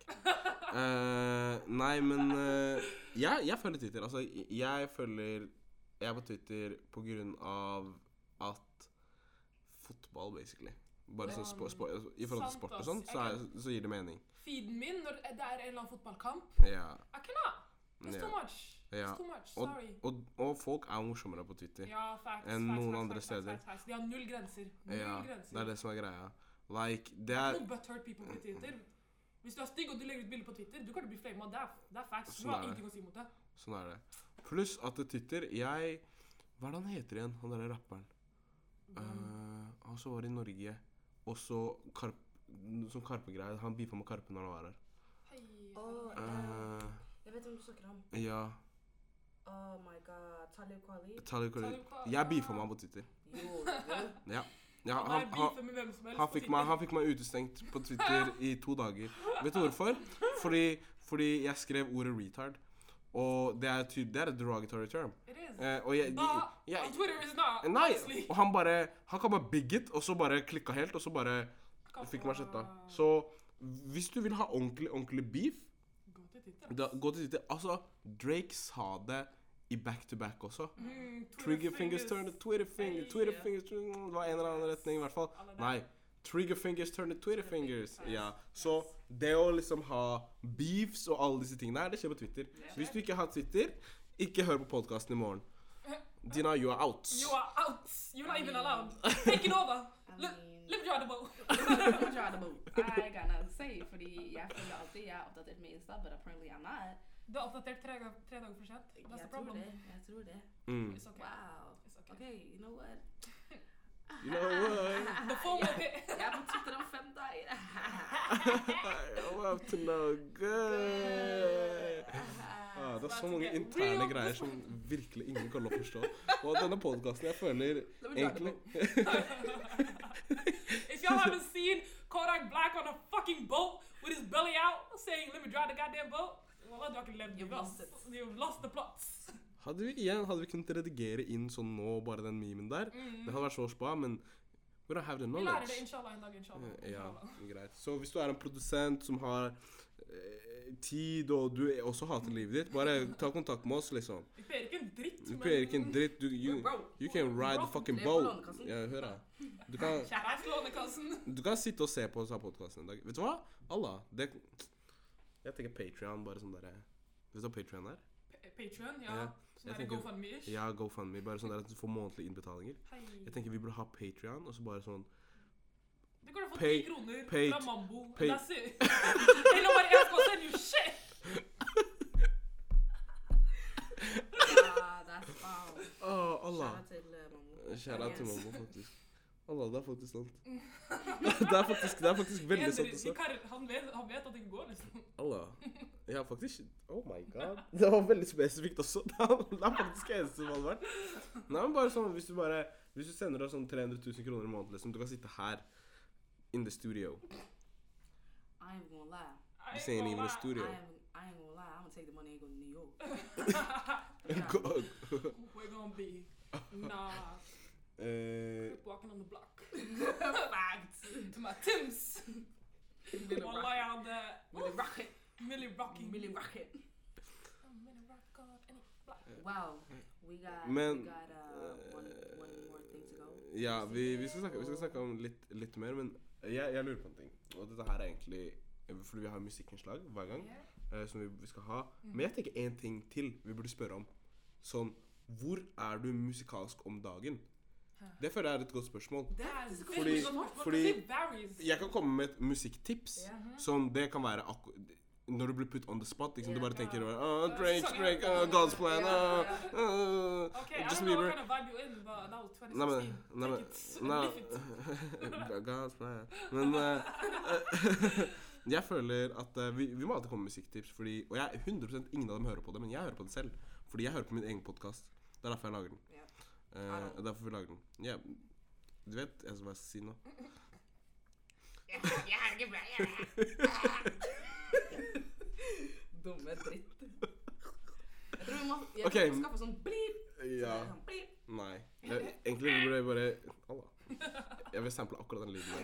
B: Eh, nei, men eh, jeg, jeg følger Twitter. Altså, jeg følger Jeg er på Twitter på grunn av at fotball, basically. Bare sånn spo, spo, I forhold
A: Sant,
B: til sport og
A: ass.
B: sånn, så, er,
A: Jeg
B: så gir det mening.
A: Feeden min når det er en eller annen fotballkamp.
B: Ja.
A: I cannot. It's
B: ja.
A: too much.
B: Ja.
A: It's too much.
B: Og,
A: Sorry.
B: og, og folk er morsommere på Twitter.
A: Ja, facts.
B: enn
A: facts,
B: noen
A: facts,
B: andre
A: facts,
B: steder.
A: Facts, facts. De har null grenser. Null
B: Ja,
A: grenser.
B: det er det som er greia. Like, det er
A: No butthurt people på Twitter. Hvis du er stygg og du legger ut bilde på Twitter, du kommer til å bli flama. Det er, det er facts. Du
B: Sånn er
A: har
B: det.
A: ingenting å si mot det.
B: Sånn er det. Pluss at det Twitter Jeg Hva er det han heter igjen, han derre rapperen? Eh, han som var i Norge, og så Karp... noe Sånn Karpe-greie. Han beefa med Karpe når han var her.
A: Hei.
C: Åh,
B: Eh,
C: Jeg vet hvem du snakker om.
B: ja
C: Oh my god. Talib Kweli.
B: Talib Kweli. Jeg beefa med han på Twitter.
D: Gjorde du?
B: Ja. ja
A: Han,
B: han,
A: er
B: han,
A: beefet med hvem som helst.
B: han,
A: på
B: fikk
A: Twitter.
B: meg, han fikk meg utestengt på Twitter i to dager. Vet du hvorfor? Fordi, fordi jeg skrev ordet 'retard'. Og det er, ty det er et derogatory term.
A: It is.
B: Eh, og jeg, de,
A: But
B: jeg,
A: on Twitter is not.
B: Nei,
A: honestly.
B: og han bare Han kan bare bigot, og så bare klikka helt, og så bare fikk meg sletta. Så hvis du vil ha ordentlig, ordentlig beef,
A: Gå til Twitter.
B: da, gå til Twitter. Altså, Drake sa det i back to back også.
A: Mm,
B: Trigger fingers turn to Twitter finger,
A: Hey.
B: Twitter fingers turn Det var en eller annen retning, i hvert fall.
A: Alle der.
B: Nei. Trigger fingers turn to Twitter fingers.
A: Nice.
B: Ja. Så det å liksom ha beefs og alle disse tingene her, det skjer på Twitter. Hvis du ikke har Twitter, ikke hør på podkasten i morgen. Dina, you are out.
A: You are out. You're not even allowed. Take it over.
D: I
A: Look.
D: mean,
A: Live your boat.
D: I'm trying to move. I got nothing to say, fordi jeg føler alltid jeg er oppdatert med Insta, but apparently I'm not.
A: Du er oppdatert tre, dag- tre dager for sent. That's the
D: Jeg tror
A: problem.
D: det. Jeg tror det.
B: Mm.
A: It's okay.
D: Wow.
A: It's okay.
D: OK, you know what?
B: You know what?
D: Ah,
A: The phone will get...
D: Jeg er på Twitter om fem dager.
B: I'm up to no good. Ah, det er så mange interne greier som virkelig ingen kan lov å forstå. Og denne podkasten, jeg føler
D: Let me try to
B: egentlig
D: move.
A: If y'all haven't seen Kodak Black on a fucking boat with his belly out saying, let me drive the goddamn boat, well, I don't live
D: You've lost it.
A: You've lost the plots.
B: Hadde vi igjen hadde vi kunnet redigere inn sånn nå, bare den memen der
D: Mm.
B: Det hadde vært så spa, men we don't have the
A: Mm. Vi lærer det,
B: knowledge. Eh,
A: inshallah, en dag, inshallah.
B: Ja,
A: inshallah.
B: greit. Så hvis du er en produsent som har eh, tid, og du også hater livet ditt, bare ta kontakt med oss, liksom.
A: Vi ber ikke en dritt,
B: Du ber ikke en dritt. Du, you, you can ride the fucking
D: Det er på
B: boat.
D: Lånekassen.
B: Ja, hør da. Du kan
A: Kjære til Lånekassen.
B: Du kan sitte og se på oss av podkasten en dag. Vet du hva? Allah, det Jeg tenker Patrion bare sånn derre Vet du hva Patrion er?
A: Pa- Patreon, ja.
B: Ja,
A: Sånn er det
B: tenker-
A: GoFundMe-ish.
B: Ja, GoFundMe. Bare sånn der at du får månedlige innbetalinger.
A: Hei.
B: Jeg tenker vi burde ha Patrion, og så bare sånn
A: Det går an å få
B: Pay-
A: 10 kroner
B: pay-
A: fra Mambo.
B: pay-
A: That's it. Ain't nobody else gonna send you shit.
D: Ah, that's wow.
B: Å, Allah.
D: Shout out til eh, mamma.
B: Kjære til
D: Yes.
B: mamma, faktisk. Allah, det er faktisk sant. det, er faktisk, det er faktisk veldig
A: Ender-
B: sant altså. også.
A: Kar- Han vet, han vet at det ikke går, liksom.
B: Allah. Ja, faktisk Oh my god. Det var veldig spesifikt også. Det er det er faktisk det eneste som hadde vært. Nei, men bare sånn, hvis du bare Hvis du sender deg sånn 300 000 kroner i måneden, liksom, du kan sitte her in the studio.
D: I ain't gonna lie.
A: I
B: This
A: ain't gonna
B: ain't even a
A: lie.
D: I
B: studio.
D: ain't, I ain't gonna lie. I'm gonna take the money and go to New York.
B: Go-
A: We're gonna be nah
B: Eh,
A: walking on the block
D: Facts.
A: to my Tims.
D: Millie
A: Wallah,
D: Rocket.
A: jeg hadde
D: Millie Rocket.
A: Millie Rocking.
D: Millie Rocket.
A: I'm gonna rock on any block.
D: Wow. We got,
B: Mm. Men,
D: we got uh, one, one more thing to go.
B: ja, vi, vi, skal snakke, vi skal snakke om litt, litt mer, men jeg, jeg lurer på en ting. Og dette her er egentlig fordi vi har musikkinnslag hver gang eh, som vi, vi skal ha.
D: Mm.
B: Men jeg tenker én ting til vi burde spørre om. Sånn Hvor er du musikalsk om dagen? Det føler jeg er et godt spørsmål.
A: Det er
B: Fordi-
A: veldig godt spørsmål,
B: fordi-
A: det varies. Mm-hmm.
B: Jeg kan komme med et musikktips
D: Ja.
B: som det kan være akku- når du blir put on the spot, liksom, du
D: Ja.
B: bare tenker
A: Ja.
B: oh, Drake,
A: Sånn, ja.
B: Drake, oh, God's plan
D: Ja,
B: oh,
D: ja.
B: oh,
A: Okay, I
B: Justin
A: don't know
B: Bieber.
A: what kind of vibe you're in, but that was 2016.
B: Nei, men, nei, men,
A: Take it.
B: nei,
A: Live it.
B: Ga- God's plan. Men eh, eh, jeg føler at eh, vi, vi må alltid komme med musikktips, fordi, og jeg 100 ingen av dem hører på det, men jeg hører på det selv. Fordi jeg hører på min egen podkast. Det er derfor jeg lager den.
D: Ja.
B: Eh,
D: Ja.
B: og derfor vi lager den. Ja, du vet jeg som er si nå.
D: Dumme dritt. Jeg tror vi må, jeg
B: Ok.
D: tror vi må skaffe sånn bling
B: Ja.
C: sånn, blip.
B: Nei. Jeg, egentlig burde jeg bare Allah. Jeg vil sample akkurat den lyden der.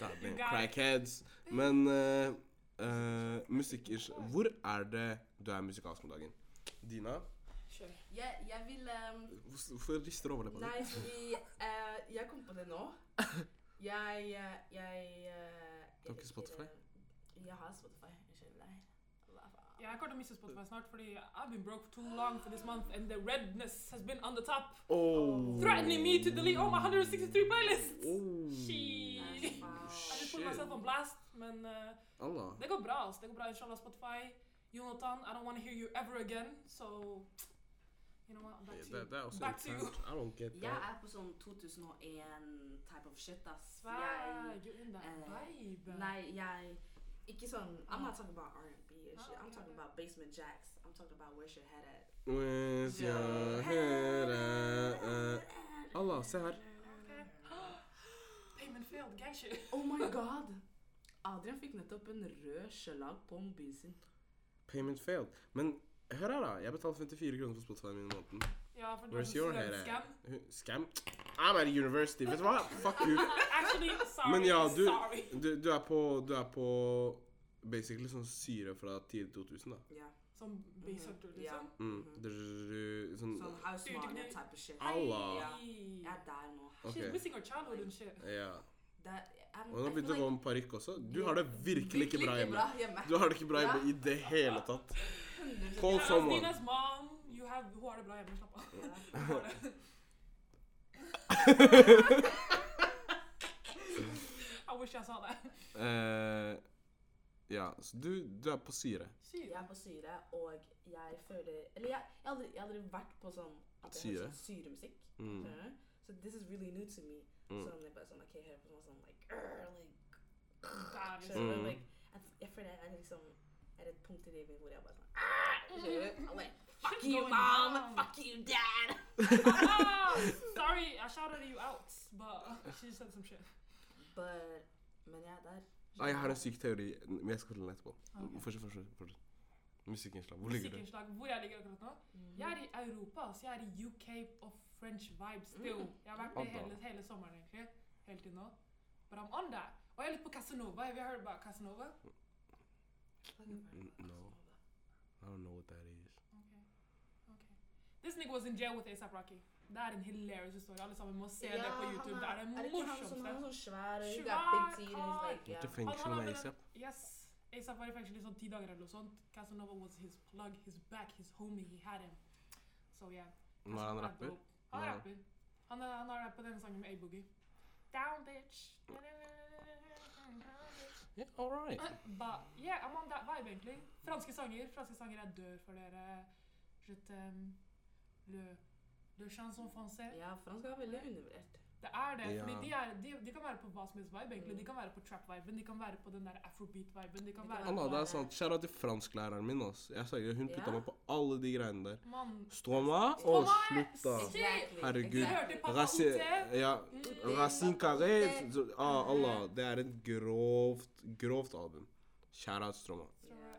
B: God damn,
A: You got it.
B: Crackheads. Men eh, eh, musikkers Hvor er det du er musikalsk om dagen? Dina?
A: Kjør.
D: Jeg, jeg vil ehm,
B: Hvorfor rister du overleppa
D: Nei,
B: di?
D: fordi eh, jeg kom på det nå. Jeg eh, jeg, eh,
B: Du har ikke Spotify?
D: Jeg har Spotify. Unnskyld deg. Hva faen?
A: Jeg kommer til å miste Spotify snart, fordi I've been broke too long for this month, and the redness has been on the top,
B: Oh.
A: threatening me to delete all my 163 playlists.
B: Oh.
A: Shit.
D: Nei, faen.
A: Jeg vil putte meg sånn? selv på blast, men eh,
B: Allah.
A: det går bra. altså. Det går bra, inshallah, Spotify. Jonathan, I don't want to hear you ever again, so You know what, back to
B: Det,
A: you.
B: det er også
A: Back to you.
B: internt. I don't get
C: Jeg
B: that.
C: er på sånn 2001 type of shit, ass.
A: Svær,
C: Jeg,
A: you're in that
C: eh,
A: vibe.
C: nei, jeg Ikke sånn I'm not talking about R&B and shit.
A: Ah,
C: I'm
A: okay,
C: talking
A: okay.
C: about basement jacks. I'm talking about where's your head at.
B: With your head at- Allah, eh, se her.
A: Okay. Payment failed, gang shit.
C: Oh my god!
D: Adrian fikk nettopp en rød sjelag på mobilen sin.
B: Payment failed. Men hør her, da. Jeg betaler 54 kroner for Spotify min i måneden.
A: Ja, for du
B: Where's
A: er
B: your
A: en
B: head
A: student scam.
B: at? Hun- Scam? I'm at university. Vet du hva? Fuck you.
A: Uh, Actually, sorry.
B: Men ja, du,
A: sorry.
B: du, du er på Du er på basically sånn syre fra tidlig 2000, da.
C: Ja.
A: Som bisøtter,
C: Mhm, ja.
A: liksom.
B: Mm. Drrrr,
C: Sånn
B: Sånn
C: House
A: Du- du-
C: Mafia
A: du-
C: type of shit.
B: Au. Allah.
A: Hey.
C: Jeg er der nå.
A: She's
B: Ok.
A: missing her childhood and shit.
B: Ja.
C: That, I'm,
B: Og nå
C: I
B: begynte du å
C: feel
B: gå med parykk også. Du har det virkelig ikke bra hjemme.
D: hjemme.
B: Du har det ikke bra hjemme i det hele tatt. Call
A: Ask
B: someone.
A: Dinas mom. You have, hun har det bra hjemme. Slapp av.
C: like-
A: Hun har det. I wish jeg sa det.
B: Eh, ja, så du, du er på syre.
A: Sykt.
D: Jeg er på syre, og jeg føler Eller jeg, jeg, har aldri, jeg har aldri vært på sånn at jeg
B: Syre?
D: hører sånn syremusikk.
B: Mm.
D: skjønner du? So this is really new to me.
B: Mm.
D: Så jeg bare sånn OK, jeg hører på sånn sånn like, grrr, like,
A: Der, liksom.
D: skjønner du?
B: Mm.
D: Like, jeg, jeg føler jeg er liksom er et punkt i livet hvor jeg bare sånn ah, skjønner du? I'm like, Fuck
A: Shit's
D: you,
A: going
D: mom!
A: down.
D: Fuck you, dad!
A: Ah, sorry, I shouted you out, but she said some shit.
D: But, men jeg er der.
B: Ah, jeg har en syk teori, men jeg skal fortelle den etterpå.
A: Ok.
B: Fortsett, fortsett. fortsett. Musikkinnslag. Hvor ligger du?
A: Musikkinnslag. Hvor jeg ligger akkurat nå?
C: Mm-hmm.
D: Mm-hmm.
A: Jeg er i Europa, så jeg er i UK og French vibes still. Jeg har vært det
B: Adda.
A: hele, hele sommeren, egentlig. Helt til nå. But I'm on that. Og jeg er litt på Casanova. Have you heard about Casanova?
B: Mm, No, I don't know what that is.
A: This nigga was in jail with ASAP Rocky. Det er en hilarious historie. Alle sammen må se det på YouTube. Det er det
D: er det ikke han som han er sånn
A: morsomste.
D: svær og
A: Svær
D: he got big teeth, and he's
A: kar.
D: like,
B: Ikke
D: yeah.
B: fengsel
A: Han- han
B: med
A: hadde
B: ASAP.
A: Yes. ASAP var i fengsel i sånn ti dager eller noe sånt. Casanova was his plug, his back, his homie. He had him. So yeah.
B: Nå er han
A: Casanova
B: rapper.
A: dope. Han
B: Nå
A: er
B: er-
A: rapper. Han, er, han har rappet denne sangen med A-Boogie. Down, bitch.
B: Yeah, all right.
A: But yeah, I'm on that vibe, egentlig. Franske sanger. Franske sanger er dør for dere. Je t'aime. Le, le chanson français.
D: Ja, fransk er veldig undervurdert.
A: Det er det. fordi
B: Ja.
A: de, er, de, de kan være på hva som helst vibe. egentlig. De kan være på trap-viben, de kan være på den der afrobeat-viben. de kan
D: kan
A: være
B: Allah, det
D: bare-
B: er sant. Kjære til fransklæreren min, ass. Jeg sa ikke, hun
D: Ja.
B: putta meg på alle de greiene der.
A: Mann
B: Stråma
A: Å,
B: og slutt, da.
A: shit!
D: Exactly.
B: Herregud.
A: Jeg hørte pappa
B: Rasi...
A: Ote.
B: Ja.
A: Mm.
B: Racine Carré. så- Ah, Allah, det er et grovt, grovt album. Kjære til Stråma.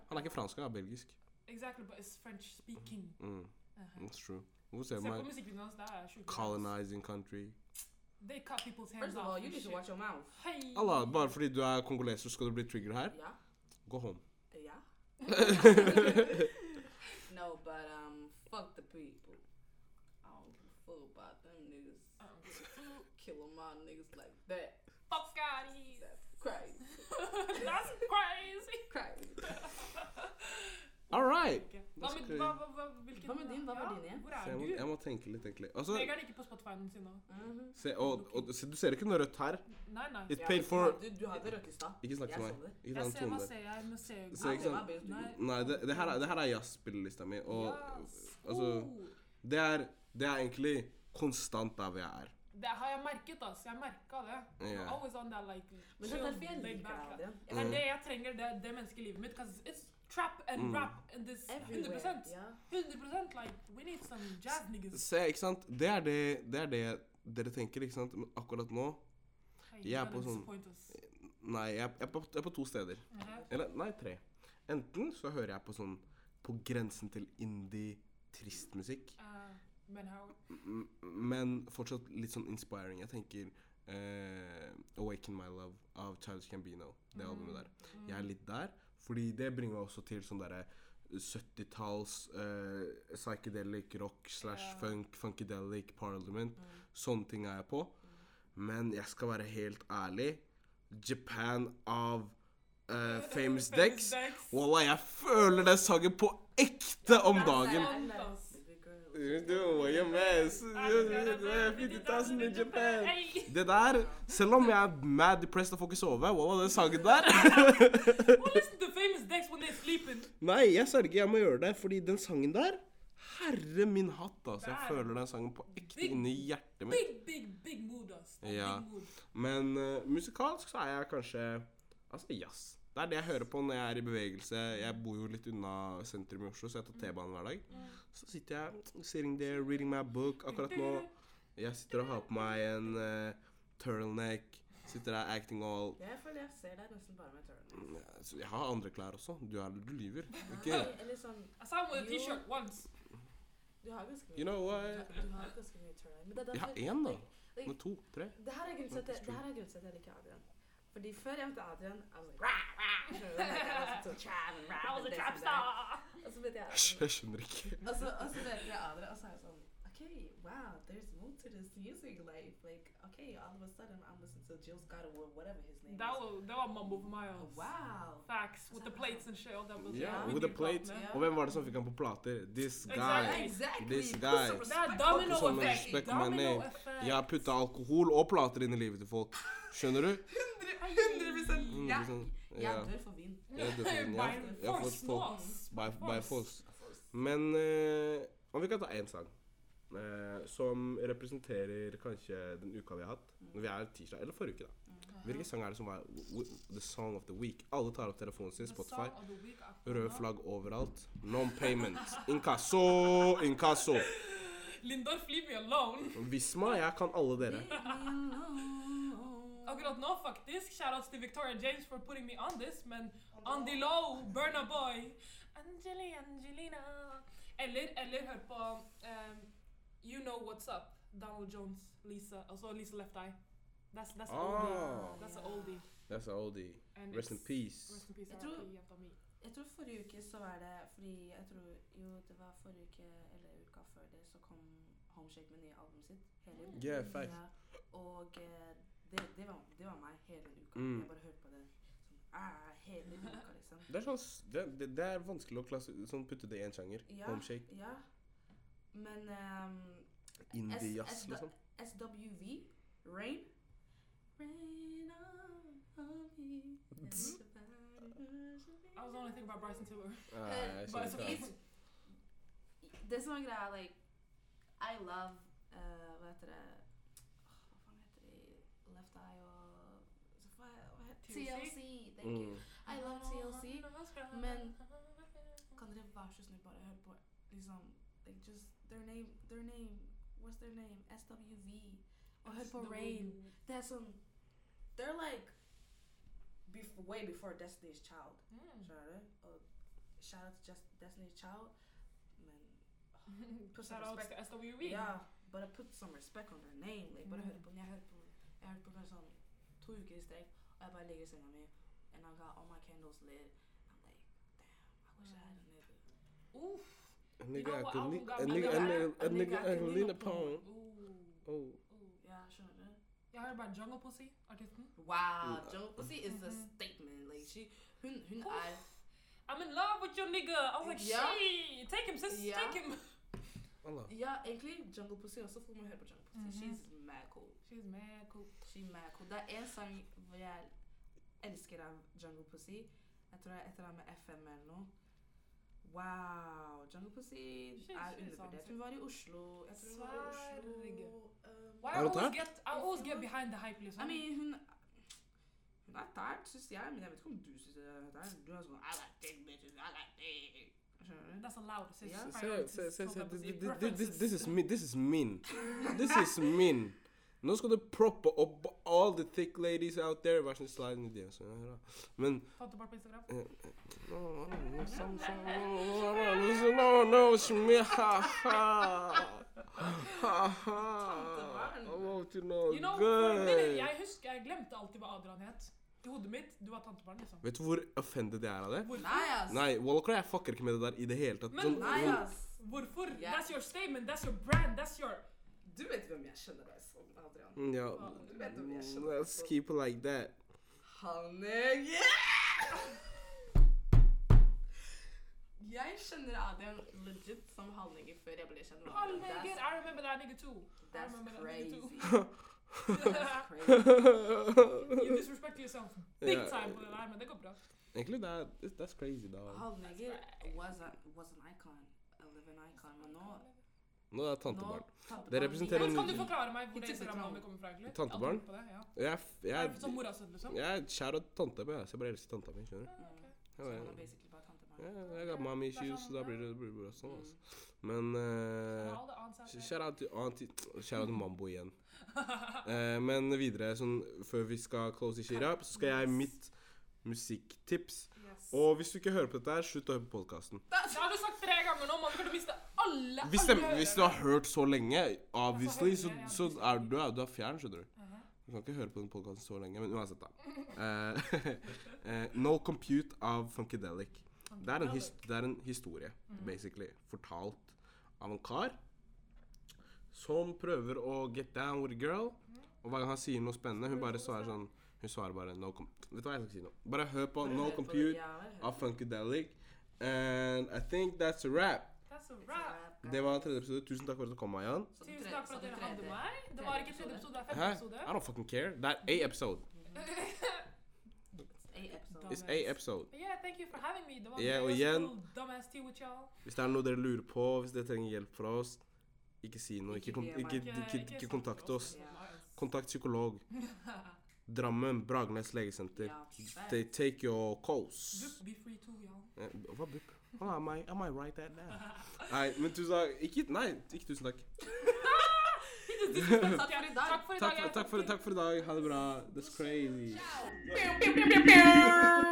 B: Han er ikke fransk, han er belgisk.
A: Exactly, but it's French speaking.
B: Mm,
A: Uh-huh.
B: that's true. Hvorfor
A: Se
B: ser
A: på
B: man
A: musikkvideoen hans. Det er sjukt.
B: colonizing country?
A: They cut people's hands
D: First of all,
A: off
D: you need
A: and
D: to
A: shit.
D: watch your mouth.
A: Hei!
B: Allah, bare fordi du er kongoleser, skal du bli trigger her?
D: Ja.
B: Gå home.
D: Ja. no, but um, fuck the people. I don't give a fuck about them niggas.
A: Oh, okay.
D: Kill them all niggas like that.
A: Fuck out here.
D: That's crazy.
A: That's crazy!
D: Crazy.
B: All right.
A: Hva med,
B: crazy.
A: hva, hva, hva, hvilken,
D: Hva med din? Hva var din igjen?
A: Hvor
B: Så
A: er
B: jeg, må,
A: du?
B: jeg må tenke litt, egentlig. Altså,
A: Vegard er ikke på Spotify-en sin nå.
D: Mhm.
B: se, og, og, se, du ser ikke noe rødt her.
A: Nei, nei.
B: It's
D: Ja,
B: paid
D: du
B: for
D: hadde- Du, du hadde rødt i stad.
B: Ikke snakk
D: Jeg
B: til
D: så
B: meg.
D: det.
B: Ikke
A: Jeg
B: den
A: ser hva
B: tonen der.
A: ser jeg, nå ser jeg
B: Så ikke sant?
D: Aldri var bedre.
A: Nei.
B: Nei, det, det her er, det her er jazzspillelista mi, og
A: Yes.
B: altså
A: Oh.
B: det er, det er egentlig konstant der hvor jeg er.
A: Det har jeg merket, altså. Jeg merka det.
B: Ja.
A: I'm Always on that, like,
D: Men det er
A: chill,
D: derfor jeg
A: laid
D: liker
A: back.
D: deg, Adrian.
A: Det er det jeg trenger, det, det mennesket i livet mitt. Cause it's trap and
B: Mm.
A: rap and this 100
D: Everywhere. Ja.
A: 100 Like, we need some jazz niggas.
B: Se, ikke sant? Det er det, det er det dere tenker, ikke sant? Men akkurat nå
A: Hey,
B: Jeg er
A: you
B: på
A: gotta
B: sånn-
A: disappoint us.
B: Nei, jeg, jeg, er på, jeg er på to steder.
A: Mhm.
B: Eller nei, tre. Enten så hører jeg på sånn på grensen til indie, trist musikk.
A: Eh, Men how?
B: M- Men fortsatt litt sånn inspiring. Jeg tenker eh, 'Awaken My Love' av Childs Gambino. Det albumet der.
A: Mm.
B: Jeg er litt der, fordi det bringer meg også til sånn derre 70-talls eh, psychedelic rock slash
A: Ja.
B: funk, funkadelic parliament.
D: Mm.
B: Sånne ting er jeg på. Men jeg skal være helt ærlig. Japan av eh, Famous Dex. Wallah, jeg føler den sangen på ekte om dagen. You're doing your best. You're doing your best. 50,000 in Japan.
A: Hey!
B: Det der, selv om jeg er mad depressed og får ikke sove, wallah, den sangen der
A: Who listen to famous Dex when they're sleeping?
B: Nei, jeg sørger, jeg må gjøre det, fordi den sangen der Herre min hatt, altså. Jeg
A: Der.
B: føler den sangen på ekte inni hjertet mitt.
A: Big, big, big mood, ass.
B: Ja.
A: Big mood.
B: Men eh, musikalsk så er jeg kanskje Altså jazz. Det er det jeg hører på når jeg er i bevegelse. Jeg bor jo litt unna sentrum i Oslo, så jeg tar T-banen hver dag. Så sitter jeg sitting there reading my book akkurat nå. Jeg sitter og har på meg en eh, turtleneck. Sitter der acting all
C: Jeg føler jeg ser deg nesten bare med turtleneck.
B: Ja, så Jeg har andre klær også. Du, er, du lyver. Ikke?
C: Nei, Eller sånn
A: I saw him with a
C: You-
A: t-shirt once.
C: Du har ganske mye
B: You know what?
C: Du har ganske mye turtleneck. Men det er
B: Jeg har
C: derfor-
B: én, da. Med to. Tre.
C: Det her er grunnen til at jeg, det her er grunnen til at jeg liker Adrian. Fordi før jeg møtte Adrian, I was like, rah, rah, skjønner du? Jeg var sånn trap,
A: I
C: rah,
A: was a
C: this
A: trap
C: and that.
A: star.
C: Og så vet jeg
B: Æsj, Jeg skjønner ikke.
D: Og så, og så vet jeg andre, og så er jeg sånn Okay, wow, there's more to this music life. Like, okay, all of a sudden I'm listening to Jill Scott or whatever his name
A: That
D: is. Oh,
A: was that was mumble for miles.
D: Wow.
A: Facts with the plates and shit. All that was
B: Yeah,
A: we
B: with the
A: did
B: plates.
A: that, man.
B: Og hvem var det som fikk han på plater? This guy.
A: Exactly.
D: Exactly.
B: This
D: Put
B: guy.
D: some respect
A: That
D: on
A: domino
B: Sånn
A: effect.
B: respect my
A: Domino
B: name.
A: effect.
B: Jeg har putta alkohol og plater inn i livet til folk. Skjønner du?
D: 100
B: Mm,
D: Ja,
B: liksom,
D: ja,
B: ja.
D: dør for vind.
B: Ja, det er fint, ja.
A: By
B: Jeg har
A: force,
B: fått folk.
A: loss.
B: By,
A: Force.
B: by force. Men eh, om vi kan ta én sang eh, som representerer kanskje den uka vi har hatt.
A: Mm.
B: Når vi er tirsdag, eller forrige uke, da. Hvilken sang er det som var w- w- The Song of the Week? Alle tar opp telefonen sin,
A: The
B: Spotify.
A: song of the week, I
B: Røde
A: forgot.
B: flagg overalt. Non-payment. Inkasso! Inkasso!
A: Lindorf, leave me alone.
B: Visma, jeg kan alle dere.
A: Akkurat nå, faktisk, shoutouts til Victoria James for putting me on this, men on the low, Burna Boy. Angeli, Angelina. Eller, eller hør på um, You Know What's Up, Donald Jones, Lisa, altså Lisa Left Eye. That's, that's an
B: Ah.
A: oldie. That's an oldie.
B: That's all the
A: And
B: Rest in
A: it's-
B: peace.
A: Rest in peace,
C: Jeg tror-
A: RIP, jenta mi.
C: Jeg tror forrige uke så var det fordi jeg tror Jo, det var forrige uke eller uka før det, så kom Homeshake med nye albumet sitt. Helium.
B: Yeah, facts.
C: og eh, det, det, var, det var meg hele uka.
B: Mm.
C: Jeg bare hørte på det sånn ah, hele uka, liksom.
B: Det er, sånn, s- det, det, det er vanskelig å klasse, sånn putte det i én sjanger.
C: Ja.
B: Homeshake.
C: Ja. Men ehm, S-
B: Indie-jazz,
C: S-
B: liksom.
C: SWV, Rain. Rain on me. and
A: That was the only thing about Bryson Tiller.
B: Nei, jeg
A: bare
B: skjønner
A: så
B: ikke det.
A: fint.
C: It's, det som er greia, like I love eh, Hva heter det Åh, Hva faen heter de? Left Eye uh, og så hva, hva heter
A: TLC?
C: Thank you.
B: Mm.
C: I love TLC. men- Kan dere være så snill bare høre på liksom um, like just their name, their name, what's their name? SWV. Og hør på Oh, Rain. Det er sånn They're like bef way before Destiny's Child.
A: Mm.
C: Skjønner du? Og shout out to just Destiny's Child. Men Put some
A: Shoutouts
C: respect-
A: til SWV.
C: Ja, bare put some respect on their name. Like, bare
A: Mm.
C: hør på den. Jeg hørte på Jeg hørte på den sånn to uker i strek, og jeg bare ligger i senga mi, and I got all my candles lit. I'm like, damn, I wish I had a nigga.
A: Uff.
B: A
A: You
B: nigga
A: know
B: I
A: what
B: could
A: album
B: lean-
A: got
B: a
A: me
B: nigga-
A: there?
B: a nigga-
C: A
B: a nigga
C: nigga
B: I could lean upon.
A: Ooh.
B: Oh.
A: Ooh.
C: Ja, skjønner du?
A: Jeg har hørt bare Jungle Pussy, artisten.
D: Wow, Joe Pussy is a
C: Mm-hmm.
A: Mhm.
D: statement. Like, she, hun, hun er
A: I'm in love with your nigga. I was like,
D: Ja.
A: shit, take him, sis,
D: Ja.
A: take him.
B: Oh, Allah.
C: Ja, egentlig Jungle Pussy også, for man hører på Jungle Pussy.
A: Mhm.
C: She's mad cool.
A: She's mad cool.
C: She mad cool. Det er en sang hvor jeg elsker av Jungle Pussy. Jeg tror det er et eller annet med FM eller noe. Wow! Jungle Pussy
A: She's-
C: er
A: she's
C: undervurdert.
A: awesome.
C: Hun var i Oslo. Jeg tror hun var i Oslo
A: Sverige.
C: um,
A: Why I
B: Er du
A: always
B: tært?
A: get, I always get behind the hype, liksom.
C: I mean, hun Hun er tært, syns jeg, men jeg vet ikke om du syns hun er tært. Du er sånn I like dick, bitches, I like dick. Skjønner du?
A: That's allowed, sis.
C: Ja.
B: Se-
A: Priorities,
B: se- se-
A: sånn
B: se-
A: type of
B: this-
A: thing.
B: this-
A: Preferences.
B: this- This is me. This is mean. This is mean. Nå skal du proppe opp oh, all the thick ladies out there. Vær så snill, slide in the DMs. ja, da. Men
A: Fant det bare på Instagram.
B: eh, no, no, no, some- some- no, no, no, no, it's me, ha, ha. Ha, ha. I want to know
A: You know, for a minute,
B: Oh, good.
A: jeg husker, jeg glemte alltid hva Adrian het. I hodet mitt, du var tantebarn, liksom.
B: Vet du hvor offended jeg er av det?
A: Hvorfor?
D: Nei, ass.
B: Nei, Wallacra, jeg fucker ikke med det der i det hele tatt.
A: Men-
D: Nei,
B: sånn,
D: ass.
A: Hvorfor?
D: Ja.
A: That's your statement, that's your brand, that's your
D: Du vet hvem jeg kjenner deg som, Adrian.
B: Mm, ja.
D: Du vet hvem jeg kjenner deg
B: Let's
D: som.
B: keep it like that.
D: Han er
C: Jeg kjenner Adrian legit som halvneger før jeg ble kjent med
A: All
C: Adrian.
A: nigger, I remember that nigga too. I
D: That's
A: remember that
D: crazy.
A: nigga too.
D: That's crazy.
A: You disrespect yourself big
B: Ja.
A: time på det der, men det går bra.
B: Egentlig, det er, det- that's crazy, da.
C: Halvneger was, a, was an icon. A living icon. Men nå
B: Nå er det tantebarn.
C: nå- tantebarn-
B: Det representerer
A: Men
B: en-
A: kan du forklare meg hvor
C: Ikke
A: det
C: tantebarn.
A: Instagram-navnet kommer fra, egentlig?
B: Tantebarn?
A: Jeg har aldri tenkt på det, ja.
B: Jeg,
A: Er
B: jeg,
A: det Som mora sønn, liksom?
B: jeg er kjær av tante, men jeg så bare elsker tanta mi. skjønner du?
C: Mm. Så
D: Sånn
B: Jeg,
C: han er
B: jeg,
C: basically bare Mm. tantebarn.
B: jeg, jeg har mommy issues, så da blir det blir det bare sånn. Altså.
D: Mm.
B: Men uh,
A: All the aunts out there.
B: Shout-out til, ah, til, shout-out til Mambo igjen. Eh, men videre, sånn, før vi skal close this shit up, så skal jeg mitt musikktips.
C: Yes.
B: Og hvis du ikke hører på dette, her, slutt å høre på podkasten.
A: Det har du sagt tre ganger nå, man kommer til å miste alle
B: Hvis,
A: alle
B: dem- hvis du
A: hørerne.
B: har hørt så lenge, obviously, så,
A: Ja, ja,
B: så
A: ja.
B: er du, er, du er fjern, skjønner du.
A: Mhm.
B: Du kan ikke høre på den podkasten så lenge, men uansett, da. Eh, eh, no Compute av Funkadelic. Det er en, his det er en historie, basically, fortalt av en kar som prøver å get down with a girl. Og hver gang han sier noe spennende, hun bare svarer sånn Hun svarer bare no com Vet du hva jeg skal si nå? Bare hør på No Compute av Funkadelic. And I think that's a wrap.
A: That's a wrap.
B: Det var tredje episode. Tusen takk for at du kom, Mayan.
A: Tusen takk for at dere hadde meg. Det var ikke tredje episode, det er femte
B: Hæ? I
A: episode.
B: don't fucking care. Det er a episode. It's a episode.
A: But yeah, thank you for having me. Det var
B: Ja, og
A: Andreas
B: igjen-
A: Bull, dumbass tea with y'all.
B: Hvis det er noe dere lurer på, hvis dere trenger hjelp fra oss, ikke si noe. Ikke, kon
C: Ikke
B: ikke,
A: Ikke-
B: ikke,
A: ikke
B: ikke
A: snakke
B: kontakt
A: til
B: oss.
A: Nice.
B: Kontakt psykolog. Drammen, Bragernes legesenter. They take your calls.
A: Bup, Be free too, y'all.
B: Eh, Hva bupp? Oh, am, I, am I right at that? Nei, men tusen takk. Ikke, nei, ikke tusen takk.
A: Takk for i dag.
B: Takk, for- takk, for, takk for i dag. Ha det bra. That's crazy.
D: Pew, pew, pew, pew.